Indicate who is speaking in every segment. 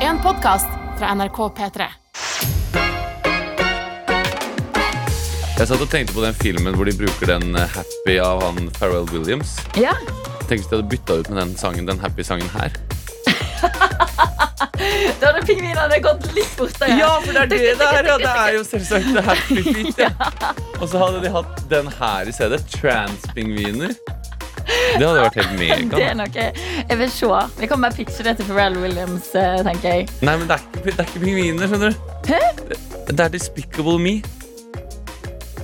Speaker 1: en podkast fra NRK P3.
Speaker 2: Jeg satt og tenkte på den filmen hvor de bruker den eh, Happy av han Pharrell Williams.
Speaker 3: Ja.
Speaker 2: Tenk hvis de hadde bytta ut med den sangen, den Happy-sangen her.
Speaker 3: Da hadde pingvinene gått litt borte.
Speaker 2: for det er det det er, og det er jo selvsagt det happy feet. Ja. Og så hadde de hatt den her i stedet. Transpingviner. Det hadde vært helt
Speaker 3: Det er
Speaker 2: mega.
Speaker 3: noe jeg vil se. Vi kan bare pitche det til Pharrell Williams, eh, tenker jeg.
Speaker 2: Nei, men det er ikke, det er ikke pingviner, skjønner du. Det, det er Despicable Me.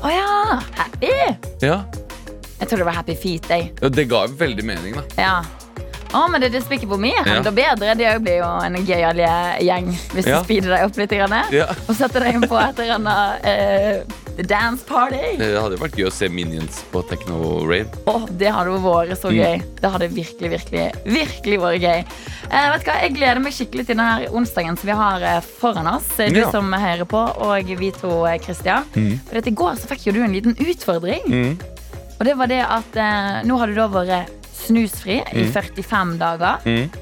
Speaker 3: Å ja! Happy!
Speaker 2: Ja.
Speaker 3: Jeg trodde det var Happy Feet, jeg.
Speaker 2: Og Det ga jo veldig mening, da.
Speaker 3: Ja. Å, men det er Despicable Me. Enda bedre. De òg blir jo en gøyal gjeng hvis
Speaker 2: Ja.
Speaker 3: du speeder deg opp litt. Grann,
Speaker 2: Ja.
Speaker 3: Og setter deg inn på et eller annet eh, dance party.
Speaker 2: Det hadde jo vært gøy å se Minions på techno-rave.
Speaker 3: Å, det hadde jo vært så
Speaker 2: Mm.
Speaker 3: gøy. Det hadde virkelig, virkelig, virkelig vært gøy. Eh, vet du hva? Jeg gleder meg skikkelig til denne onsdagen som vi har eh, foran oss. Eh, Du
Speaker 2: Ja.
Speaker 3: som hører på, og vi to, eh, Christian. For at I går så fikk jo du en liten utfordring.
Speaker 2: Mm.
Speaker 3: Og det var det at eh, nå har du da vært snusfri i 45 dager.
Speaker 2: Mm.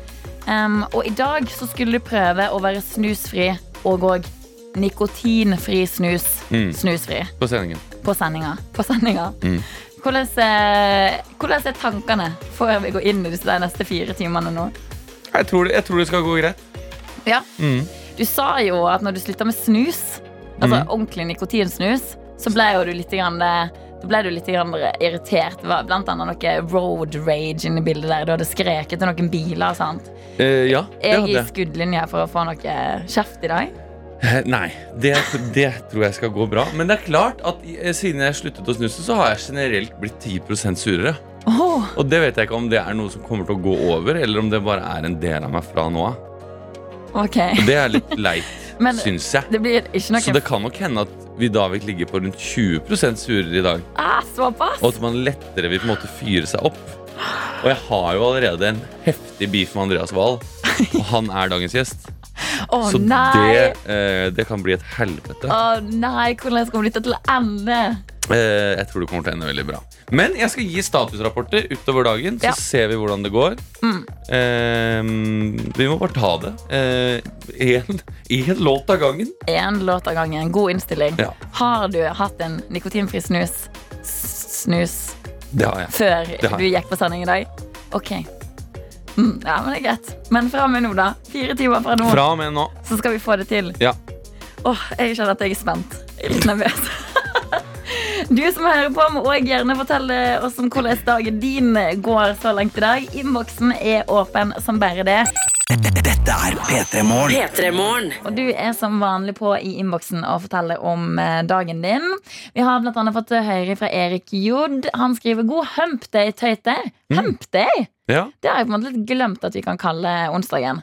Speaker 3: Um, og i dag så skulle du prøve å være snusfri og òg nikotinfri snus.
Speaker 2: Mm.
Speaker 3: Snusfri
Speaker 2: På sendingen.
Speaker 3: på sendinga. På sendinga.
Speaker 2: Mm.
Speaker 3: Hvordan, eh, hvordan er tankene før vi går inn i disse der neste fire timene nå?
Speaker 2: Jeg tror, det, jeg tror det skal gå greit.
Speaker 3: Ja,
Speaker 2: Mm.
Speaker 3: Du sa jo at når du slutta med snus, altså ordentlig nikotinsnus, så ble jo du litt grann, eh, da ble du litt grann irritert. Det var blant annet noe road rage inni bildet der. Du hadde skreket til noen biler. sant?
Speaker 2: Eh, ja, det
Speaker 3: Jeg
Speaker 2: hadde
Speaker 3: er i
Speaker 2: jeg.
Speaker 3: skuddlinja for å få noe kjeft i dag.
Speaker 2: Eh, Nei, det, det tror jeg skal gå bra. Men det er klart at i- eh, siden jeg sluttet å snuse, så har jeg generelt blitt 10 surere.
Speaker 3: Åh,
Speaker 2: Og det vet jeg ikke om det er noe som kommer til å gå over, eller om det bare er en del av meg fra nå av.
Speaker 3: ok.
Speaker 2: Og Det er litt leit,
Speaker 3: Men
Speaker 2: syns jeg.
Speaker 3: det blir ikke noe
Speaker 2: Så det kan nok hende at vi da vil ligge på rundt 20 surere i dag.
Speaker 3: ah, såpass.
Speaker 2: Og at man lettere vil på en måte fyre seg opp. Og jeg har jo allerede en heftig beef med Andreas Wahl, og han er dagens gjest.
Speaker 3: Å
Speaker 2: Så
Speaker 3: nei!
Speaker 2: det, eh, det kan bli et helvete.
Speaker 3: Å nei, hvordan skal vi lytte til ende?
Speaker 2: Eh, jeg tror det kommer til å ende veldig bra. Men jeg skal gi statusrapporter utover dagen, så
Speaker 3: Ja.
Speaker 2: ser vi hvordan det går.
Speaker 3: Mm.
Speaker 2: Eh, vi må bare ta det. Eh, Én låt av gangen.
Speaker 3: Én låt av gangen. God innstilling.
Speaker 2: Ja.
Speaker 3: Har du hatt en nikotinfri snus, s- snus
Speaker 2: Det har jeg.
Speaker 3: før
Speaker 2: Det har
Speaker 3: du gikk på sending i dag? OK. Mm, ja, men det er greit. Men fra og med nå, da. Fire timer fra nå,
Speaker 2: Fra og med nå.
Speaker 3: så skal vi få det til.
Speaker 2: Ja.
Speaker 3: Åh, jeg kjenner at jeg er spent. Jeg er litt nervøs. Du som hører på, må også gjerne fortelle oss om hvordan dagen din går så langt i dag. Innboksen er åpen som bare det.
Speaker 4: P3-morgen.
Speaker 3: Og du er som vanlig på i innboksen og forteller om eh, dagen din. Vi har blant annet fått høre fra Erik Jod. Han skriver 'God hump day, tøyter'.
Speaker 2: Mm.
Speaker 3: Hump day?
Speaker 2: Ja.
Speaker 3: Det har jeg på en måte litt glemt at vi kan kalle onsdagen.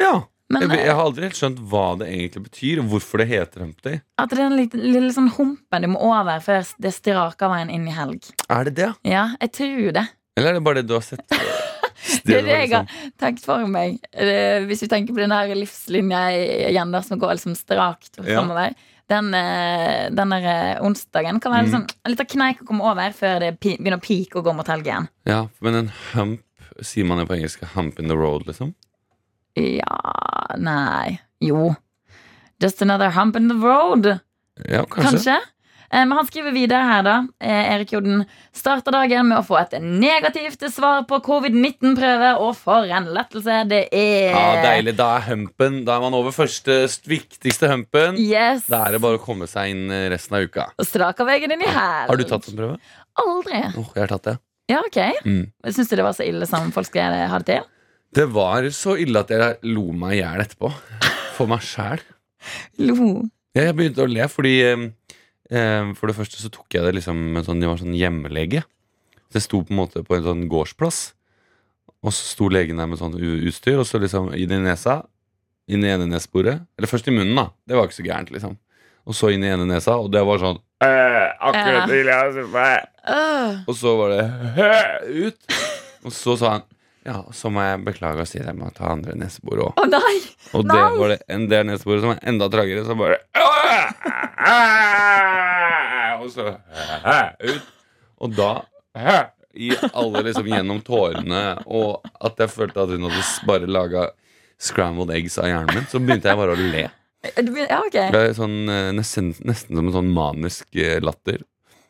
Speaker 2: ja.
Speaker 3: Men
Speaker 2: Jeg,
Speaker 3: eh,
Speaker 2: jeg har aldri helt skjønt hva det egentlig betyr, og hvorfor det heter Hump Day.
Speaker 3: at det er den lille, lille sånn humpen du må over før det straker veien inn i helg.
Speaker 2: Er det det?
Speaker 3: Ja, jeg tror det.
Speaker 2: Eller er det bare det liksom- du har sett?
Speaker 3: Det er det jeg har tenkt for meg. Eh, Hvis vi tenker på den her livslinja igjen der som går liksom strakt
Speaker 2: Ja.
Speaker 3: framover. Den, eh, den der eh, onsdagen kan
Speaker 2: Mm.
Speaker 3: være litt sånn, en liten kneik å komme over før det pi- begynner å pike og gå mot helg igjen.
Speaker 2: Ja, Men en hump, sier man det på engelsk? Hump in the road, liksom?
Speaker 3: Ja Nei. Jo. Just another hump in the road.
Speaker 2: Ja, kanskje.
Speaker 3: Kanskje. Eh, Men han skriver videre her, da. eh, Erik Joden starter dagen med å få et negativt svar på covid-19-prøve, og for en lettelse det er.
Speaker 2: Ja, Deilig. Da er humpen. Da er man over første st- viktigste humpen.
Speaker 3: Yes.
Speaker 2: Da er det bare å komme seg inn eh, resten av uka.
Speaker 3: Og straka veien inn i hæl.
Speaker 2: Har du tatt en prøve?
Speaker 3: Aldri.
Speaker 2: Åh, jeg har tatt det.
Speaker 3: Ja, ok.
Speaker 2: Mm.
Speaker 3: Syns du det var så ille som folk skal ha det til?
Speaker 2: Det var så ille at jeg lo meg i hjel etterpå. For meg sjæl.
Speaker 3: Lo.
Speaker 2: Jeg jeg begynte å le fordi eh, eh, For det første så tok jeg det liksom med sånn, Det var sånn hjemmelege. Så jeg sto på en måte på en sånn gårdsplass, og så sto legen der med sånn u- utstyr, og så liksom inn i nesa, inn i ene nesboret Eller først i munnen, da. Det var ikke så gærent, liksom. Og så inn i ene nesa, og det var sånn
Speaker 3: Ja. Øh.
Speaker 2: Og så var det «Hø!» ut. Og så sa han ja, så må jeg beklage og si at jeg må ta andre nesebor òg.
Speaker 3: Å nei!
Speaker 2: Og det
Speaker 3: Nei!
Speaker 2: var det en del nesebor som var enda trangere, så bare «Åh!» Og så «Hæ!» ut. Og da «Hæ!» i alle liksom gjennom tårene, og at jeg følte at hun hadde s- bare laga scrambled eggs av hjernen min, så begynte jeg bare å le.
Speaker 3: Du begyn- Ja, ok.
Speaker 2: Det ble sånn, eh, nesten, nesten som en sånn manisk eh, latter.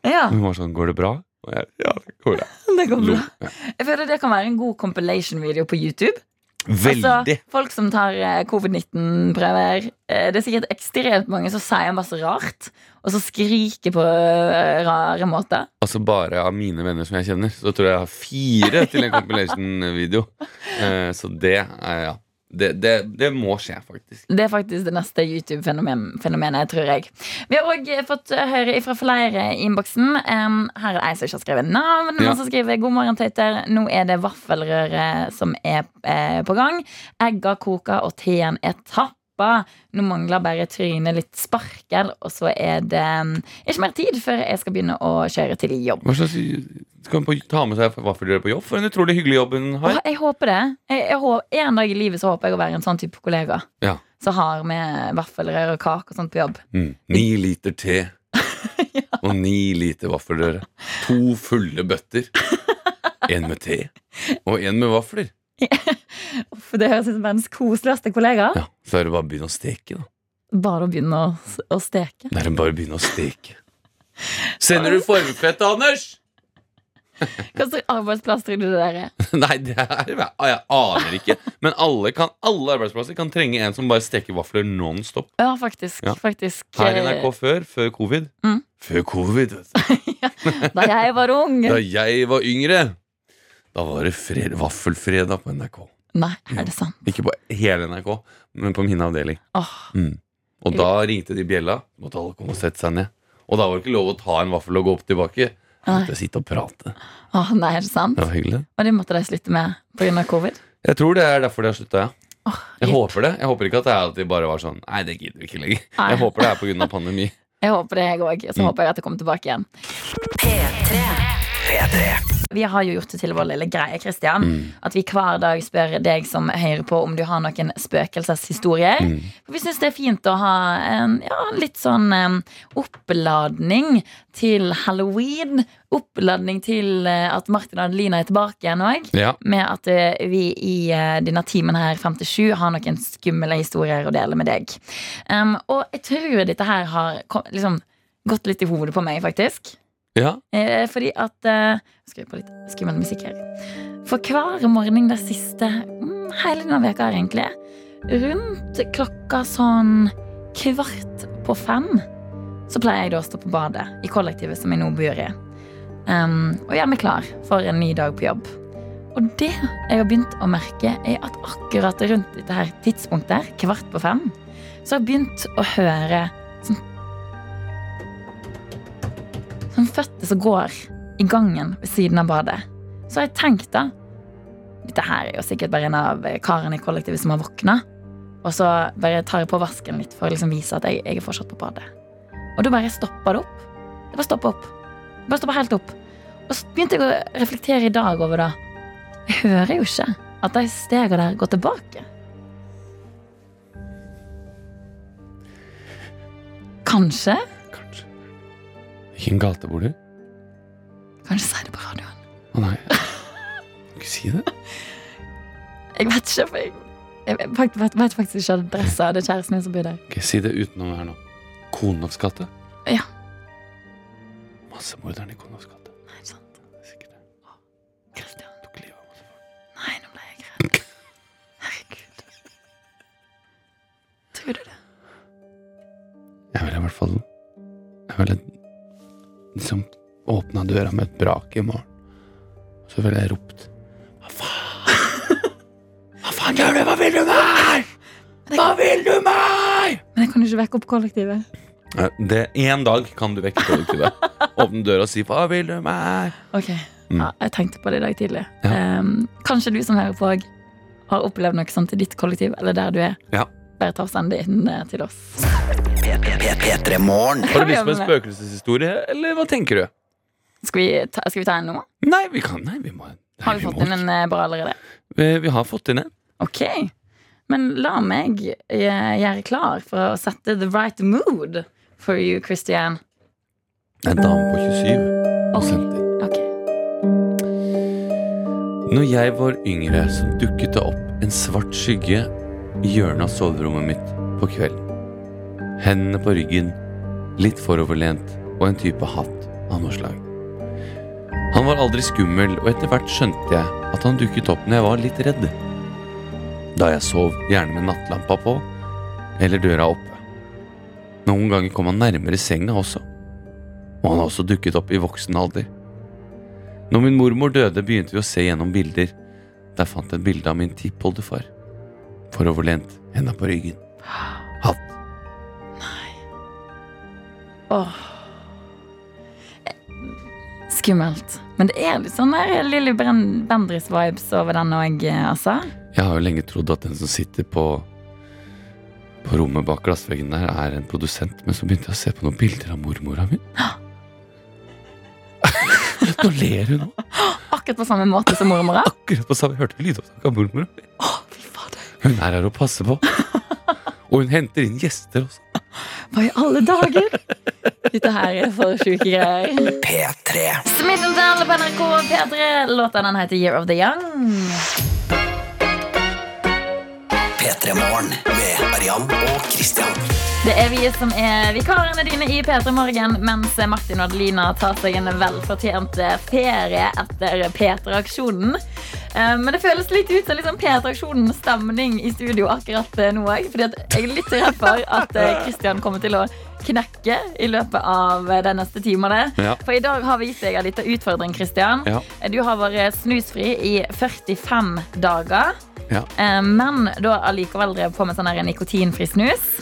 Speaker 3: Ja,
Speaker 2: Hun var sånn 'Går det bra?' Og jeg ja, det går bra.
Speaker 3: det går
Speaker 2: Lo.
Speaker 3: bra. Jeg føler det kan være en god compilation-video på YouTube.
Speaker 2: Veldig!
Speaker 3: Altså, folk som tar eh, covid-19-prøver. eh, Det er sikkert ekstremt mange som sier masse rart, og så skriker på eh, rare måter.
Speaker 2: Altså Bare av mine venner som jeg kjenner, så tror jeg jeg har fire til en compilation-video. Eh, så det er ja. Det, det, det må skje, faktisk.
Speaker 3: Det er faktisk det neste YouTube-fenomenet, tror jeg. Vi har òg fått eh, høre ifra flere i innboksen. Em, her er det ei som ikke har skrevet navn,
Speaker 2: Ja.
Speaker 3: men som skriver 'God morgen, tøyter'. Nå er det vaffelrøre som er eh, på gang. Egga koker, og teen er tappa. Nå mangler bare trynet litt sparkel, og så er det em, ikke mer tid før jeg skal begynne å kjøre til jobb.
Speaker 2: Hva slags, skal hun på, ta med seg vaffelrør på jobb? For en utrolig hyggelig jobb hun
Speaker 3: Og
Speaker 2: har.
Speaker 3: jeg håper det. Jeg, jeg, hå- en dag i livet så håper jeg å være en sånn type kollega.
Speaker 2: Ja.
Speaker 3: Som har med vaffelrør og kake og sånt på jobb.
Speaker 2: Mm. Ni liter te og ni liter vaffelrøre. To fulle bøtter. En med te og en med vafler.
Speaker 3: For det høres ut som verdens koseligste kollega.
Speaker 2: Ja, Så er det bare å begynne å steke, da.
Speaker 3: Bare å begynne å, å steke.
Speaker 2: Det er bare å begynne å steke. Sender du formfett, Anders?
Speaker 3: Hva slags arbeidsplass tror du det der er?
Speaker 2: Nei, det er Jeg aner ikke. Men alle, kan, alle arbeidsplasser kan trenge en som bare steker vafler non stop.
Speaker 3: Ja, faktisk.
Speaker 2: Ja.
Speaker 3: faktisk
Speaker 2: Her i
Speaker 3: eh,
Speaker 2: NRK før, før covid.
Speaker 3: Mm.
Speaker 2: Før covid, vet du.
Speaker 3: Da jeg var ung.
Speaker 2: Da jeg var yngre, da var det fred, vaffelfredag på NRK.
Speaker 3: Nei, er det sant?
Speaker 2: Ikke på hele NRK, men på min avdeling.
Speaker 3: Åh,
Speaker 2: Mm. Og da ringte de bjella. Måtte alle komme og sette seg ned. Og da var det ikke lov å ta en vaffel og gå opp tilbake. Jeg
Speaker 3: Nei.
Speaker 2: Måtte sitte og prate.
Speaker 3: åh, nei, er det sant?
Speaker 2: Det var hyggelig.
Speaker 3: Og det måtte de slutte med pga. covid?
Speaker 2: Jeg tror det er derfor de har slutta, ja.
Speaker 3: Åh,
Speaker 2: Jeg
Speaker 3: jeg,
Speaker 2: håper det. Jeg håper ikke at det er at de bare var sånn Nei, det gidder vi ikke lenger.
Speaker 3: Nei.
Speaker 2: Jeg håper det er pga. pandemi.
Speaker 3: jeg håper det, jeg òg. Og
Speaker 2: Mm.
Speaker 3: så håper jeg at det kommer tilbake igjen. Vi har jo gjort det til vår lille greie, Christian,
Speaker 2: Mm.
Speaker 3: at vi hver dag spør deg som hører på om du har noen spøkelseshistorier.
Speaker 2: Mm.
Speaker 3: For vi syns det er fint å ha en ja, litt sånn em, oppladning til halloween. Oppladning til eh, at Martin og Adelina er tilbake igjen òg.
Speaker 2: Ja.
Speaker 3: Med at eh, vi i eh, denne timen her frem til sju har noen skumle historier å dele med deg. Em, og jeg tror dette her har kom, liksom, gått litt i hodet på meg, faktisk.
Speaker 2: ja.
Speaker 3: Eh, fordi at eh, Skru på litt skummel musikk her. For hver morgen den siste mm, hele denne veka her, egentlig, rundt klokka sånn kvart på fem, så pleier jeg da å stå på badet i kollektivet som jeg nå bor i, em, og gjøre meg klar for en ny dag på jobb. Og det jeg har begynt å merke, er at akkurat rundt dette her tidspunktet, her, kvart på fem, så har jeg begynt å høre sånn Sånn fødte som går i gangen ved siden av badet. Så har jeg tenkt da Dette her er jo sikkert bare en av karene i kollektivet som har våkna. Og så bare tar jeg på vasken litt for å liksom vise at jeg, jeg er fortsatt på badet. Og da bare stoppa det opp. Det bare stoppa opp. Det bare stoppa helt opp. Og så begynte jeg å reflektere i dag over det. Jeg hører jo ikke at de stega der går tilbake. Kanskje
Speaker 2: Kanskje. Hvilken gate bor du i?
Speaker 3: Kanskje si det på radioen.
Speaker 2: Å nei. Kan ikke si det.
Speaker 3: Jeg vet ikke, for jeg, jeg vet, fakt- vet, vet faktisk ikke adressa. Det er kjæresten min som bor der.
Speaker 2: Ok, Si det utenom her nå. Konovs gate?
Speaker 3: Ja.
Speaker 2: Massemorderen i Konovs gate.
Speaker 3: Nei, ikke sant.
Speaker 2: Det er sikkert det.
Speaker 3: Christian.
Speaker 2: Tok livet av masse folk.
Speaker 3: Nei, nå ble jeg redd. Herregud. Tror du det?
Speaker 2: Jeg ville i hvert fall Jeg ville liksom åpna døra med et brak i morgen. Og så ville jeg ropt Hva faen? Hva faen gjør du? Hva vil du meg? Hva vil du meg?
Speaker 3: Men jeg kan jo ikke vekke opp kollektivet.
Speaker 2: Eh, Det En dag kan du vekke kollektivet. Åpne døra og si 'Hva vil du meg?'
Speaker 3: Ok,
Speaker 2: Mm.
Speaker 3: ja, Jeg tenkte på det i dag tidlig.
Speaker 2: Ja.
Speaker 3: Ehm, kanskje du som hører på òg har opplevd noe sånt i ditt kollektiv, eller der du er.
Speaker 2: Ja.
Speaker 3: Bare ta og send det inn eh, til oss.
Speaker 2: Har du lyst på en spøkelseshistorie, eller hva tenker du?
Speaker 3: Skal vi ta, skal vi ta en nå?
Speaker 2: Nei, vi kan Nei, vi må nei,
Speaker 3: Har vi fått
Speaker 2: må
Speaker 3: inn en eh, bra allerede?
Speaker 2: ikke. vi, vi har fått inn en.
Speaker 3: Ok, men la meg eh, gjøre klar for å sette the right mood for you, Christian.
Speaker 2: En dame på 27 som
Speaker 3: Ok,
Speaker 2: sendte inn.
Speaker 3: ok.
Speaker 2: Når jeg var yngre, så dukket det opp en svart skygge i hjørnet av soverommet mitt på kvelden. Hendene på ryggen, litt foroverlent og en type hatt av noe slag. Han var aldri skummel, og etter hvert skjønte jeg at han dukket opp når jeg var litt redd. Da jeg sov, gjerne med nattlampa på, eller døra oppe. Noen ganger kom han nærmere senga også, og han har også dukket opp i voksen alder. Når min mormor døde, begynte vi å se gjennom bilder. Der fant jeg et bilde av min tippoldefar. Foroverlent, henda på ryggen. Hatt.
Speaker 3: Åh. Eh, Skummelt. Men det er litt sånn der Lilly Bren- Bendriss-vibes over den òg, altså.
Speaker 2: Jeg har jo lenge trodd at den som sitter på på rommet bak glassveggen der, er en produsent, men så begynte jeg å se på noen bilder av mormora mi. Nå ler hun nå,
Speaker 3: Akkurat på samme måte som mormora.
Speaker 2: akkurat på samme hørte lydopptak av mormora.
Speaker 3: Fy fader.
Speaker 2: Hun er her og passer på. Og hun henter inn gjester også.
Speaker 3: Hva i alle dager? Dette her er for sjuke greier. P3 Smith Tell på NRK P3. Låta den heter Year of the Young.
Speaker 4: P3 Morgen med Mariann og Christian.
Speaker 3: Det er vi som er vikarene dine i P3 Morgen, mens Martin og Adelina tar seg en velfortjent eh, ferie etter P3-aksjonen. Eh, Men det føles litt ut som liksom P3-aksjonens stemning i studio akkurat eh, nå òg. Fordi at jeg er litt redd for at eh, Christian kommer til å knekke i løpet av eh, de neste timene.
Speaker 2: Ja.
Speaker 3: For i dag har vi gitt deg en liten utfordring, Christian.
Speaker 2: Ja.
Speaker 3: Du har vært snusfri i 45 dager.
Speaker 2: Ja.
Speaker 3: Eh, Men da allikevel drev på med sånn her nikotinfri snus.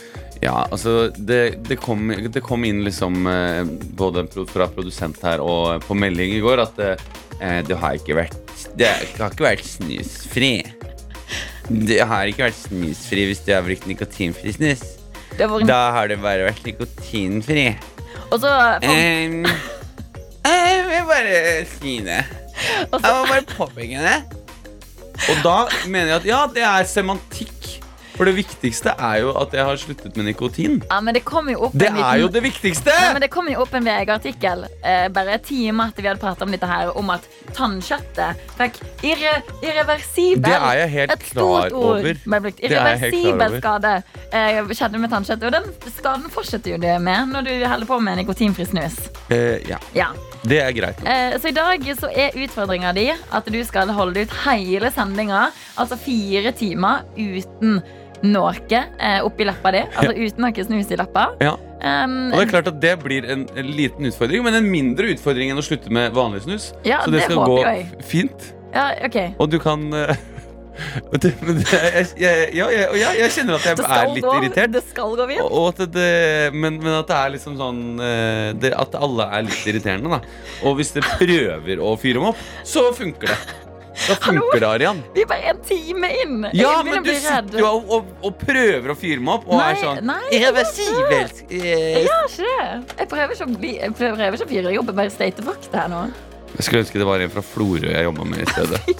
Speaker 2: Ja, altså det, det, kom, det kom inn liksom eh, både pro- fra produsent her og eh, på melding i går at eh, det har ikke vært Det har ikke vært snusfri. Det har ikke vært snusfri hvis det har brukt nikotinfri snus.
Speaker 3: Det har vært
Speaker 2: Da har det bare vært nikotinfri.
Speaker 3: Og så,
Speaker 2: Eh. Em, jeg vil bare si det. Jeg må bare påpeke det. Og da mener jeg at ja, det er semantikk. For det viktigste er jo at jeg har sluttet med nikotin.
Speaker 3: ja, men det kom jo opp
Speaker 2: Det
Speaker 3: en
Speaker 2: er jo
Speaker 3: liten-
Speaker 2: det viktigste!
Speaker 3: Nei, men det kom jo opp en VG-artikkel eh, bare timer etter vi hadde pratet om dette her, om at tannkjøttet fikk irre, irreversibel
Speaker 2: Det er jeg helt
Speaker 3: Et stort
Speaker 2: klar
Speaker 3: ord
Speaker 2: over.
Speaker 3: ble brukt.
Speaker 2: er jeg helt klar
Speaker 3: Irreversibel
Speaker 2: over.
Speaker 3: skade eh, skjedde med tannkjøttet. Og den skaden fortsetter jo du med når du holder på med nikotinfri snus.
Speaker 2: Eh, ja,
Speaker 3: Ja.
Speaker 2: det er greit.
Speaker 3: Eh, så i dag så er utfordringa di at du skal holde ut hele sendinga, altså fire timer, uten noe eh, oppi leppa di. Altså uten noe snus i leppa.
Speaker 2: Ja.
Speaker 3: Um,
Speaker 2: Og det er klart at det blir en, en liten utfordring, men en mindre utfordring enn å slutte med vanlig snus.
Speaker 3: Ja,
Speaker 2: Så det,
Speaker 3: det
Speaker 2: skal
Speaker 3: håper
Speaker 2: gå
Speaker 3: jeg.
Speaker 2: f- fint.
Speaker 3: ja, ok.
Speaker 2: Og du kan eh, det, men det, jeg, jeg, ja, jeg, og jeg, jeg kjenner at jeg
Speaker 3: Det
Speaker 2: er
Speaker 3: skal
Speaker 2: litt
Speaker 3: gå-
Speaker 2: irritert.
Speaker 3: Det skal gå
Speaker 2: Og
Speaker 3: fint.
Speaker 2: og at det, men, men at det er liksom sånn eh, det, At alle er litt irriterende, da. Og hvis det prøver å fyre dem opp, så funker det. Da funker det, Arian.
Speaker 3: Vi er bare en time inn. Jeg
Speaker 2: Ja,
Speaker 3: begynner å
Speaker 2: men du
Speaker 3: bli redd.
Speaker 2: sitter jo og, og, og prøver å fyre meg opp og
Speaker 3: Nei,
Speaker 2: er sånn
Speaker 3: nei,
Speaker 2: Irreversibelt.
Speaker 3: Jeg
Speaker 2: eh,
Speaker 3: gjør ikke det. Jeg prøver ikke å, bli, jeg prøver ikke å fyre. Jeg jobber bare state fakta her nå.
Speaker 2: Jeg skulle ønske det var en fra Florø jeg jobba med i stedet. I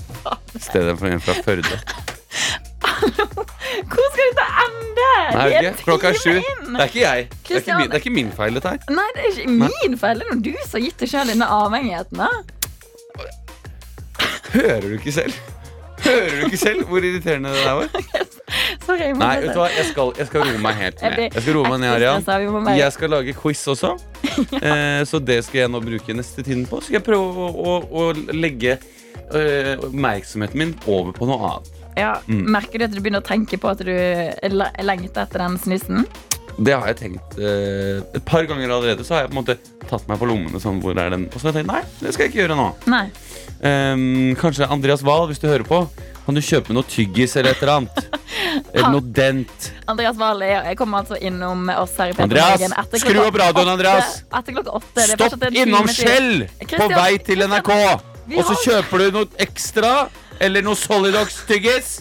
Speaker 2: stedet for en fra Førde.
Speaker 3: Hvor skal dette ende?
Speaker 2: Nei,
Speaker 3: Vi
Speaker 2: jeg vet ikke. Klokka er sju.
Speaker 3: time inn.
Speaker 2: Det er ikke jeg. Det er ikke,
Speaker 3: Christian.
Speaker 2: min, det er ikke min feil, dette her.
Speaker 3: Nei, det er ikke min feil. Det er noe du som har gitt deg sjøl denne avhengigheten. da.
Speaker 2: Hører du ikke selv? Hører du ikke selv hvor irriterende det der var?
Speaker 3: Sorry. jeg må
Speaker 2: Nei,
Speaker 3: bare-
Speaker 2: vet du hva, jeg skal, jeg skal roe meg helt ned.
Speaker 3: Jeg blir
Speaker 2: Jeg skal roe meg ned,
Speaker 3: ekstra stresset, vi må
Speaker 2: Arian.
Speaker 3: bare-
Speaker 2: Jeg skal lage quiz også. Eh, så det skal jeg nå bruke neste tiden på. Så skal jeg prøve å, å, å legge eh, oppmerksomheten min over på noe annet.
Speaker 3: Ja,
Speaker 2: Mm.
Speaker 3: Merker du at du begynner å tenke på at du le- lengter etter den snusen?
Speaker 2: Det har jeg tenkt eh, et par ganger allerede. Så har jeg på en måte tatt meg på lommene. Sånn, hvor er den? Og så har jeg tenkt nei, det skal jeg ikke gjøre nå.
Speaker 3: Nei.
Speaker 2: Ehm, kanskje Andreas Wahl, hvis du hører på, kan du kjøpe noe tyggis eller et eller annet? Eller noe dent.
Speaker 3: Andreas Wahle jeg kommer altså innom oss her i Petter
Speaker 2: Andreas,
Speaker 3: Morgen etter
Speaker 2: skru
Speaker 3: klokka
Speaker 2: opp radioen, Andreas.
Speaker 3: åtte- Etter klokka åtte. Det er fortsatt
Speaker 2: Stopp
Speaker 3: en time
Speaker 2: innom
Speaker 3: til.
Speaker 2: Skjell på
Speaker 3: Christian,
Speaker 2: vei til NRK!
Speaker 3: vi
Speaker 2: Og så
Speaker 3: har-
Speaker 2: kjøper du noe ekstra, eller noe Solidox-tyggis.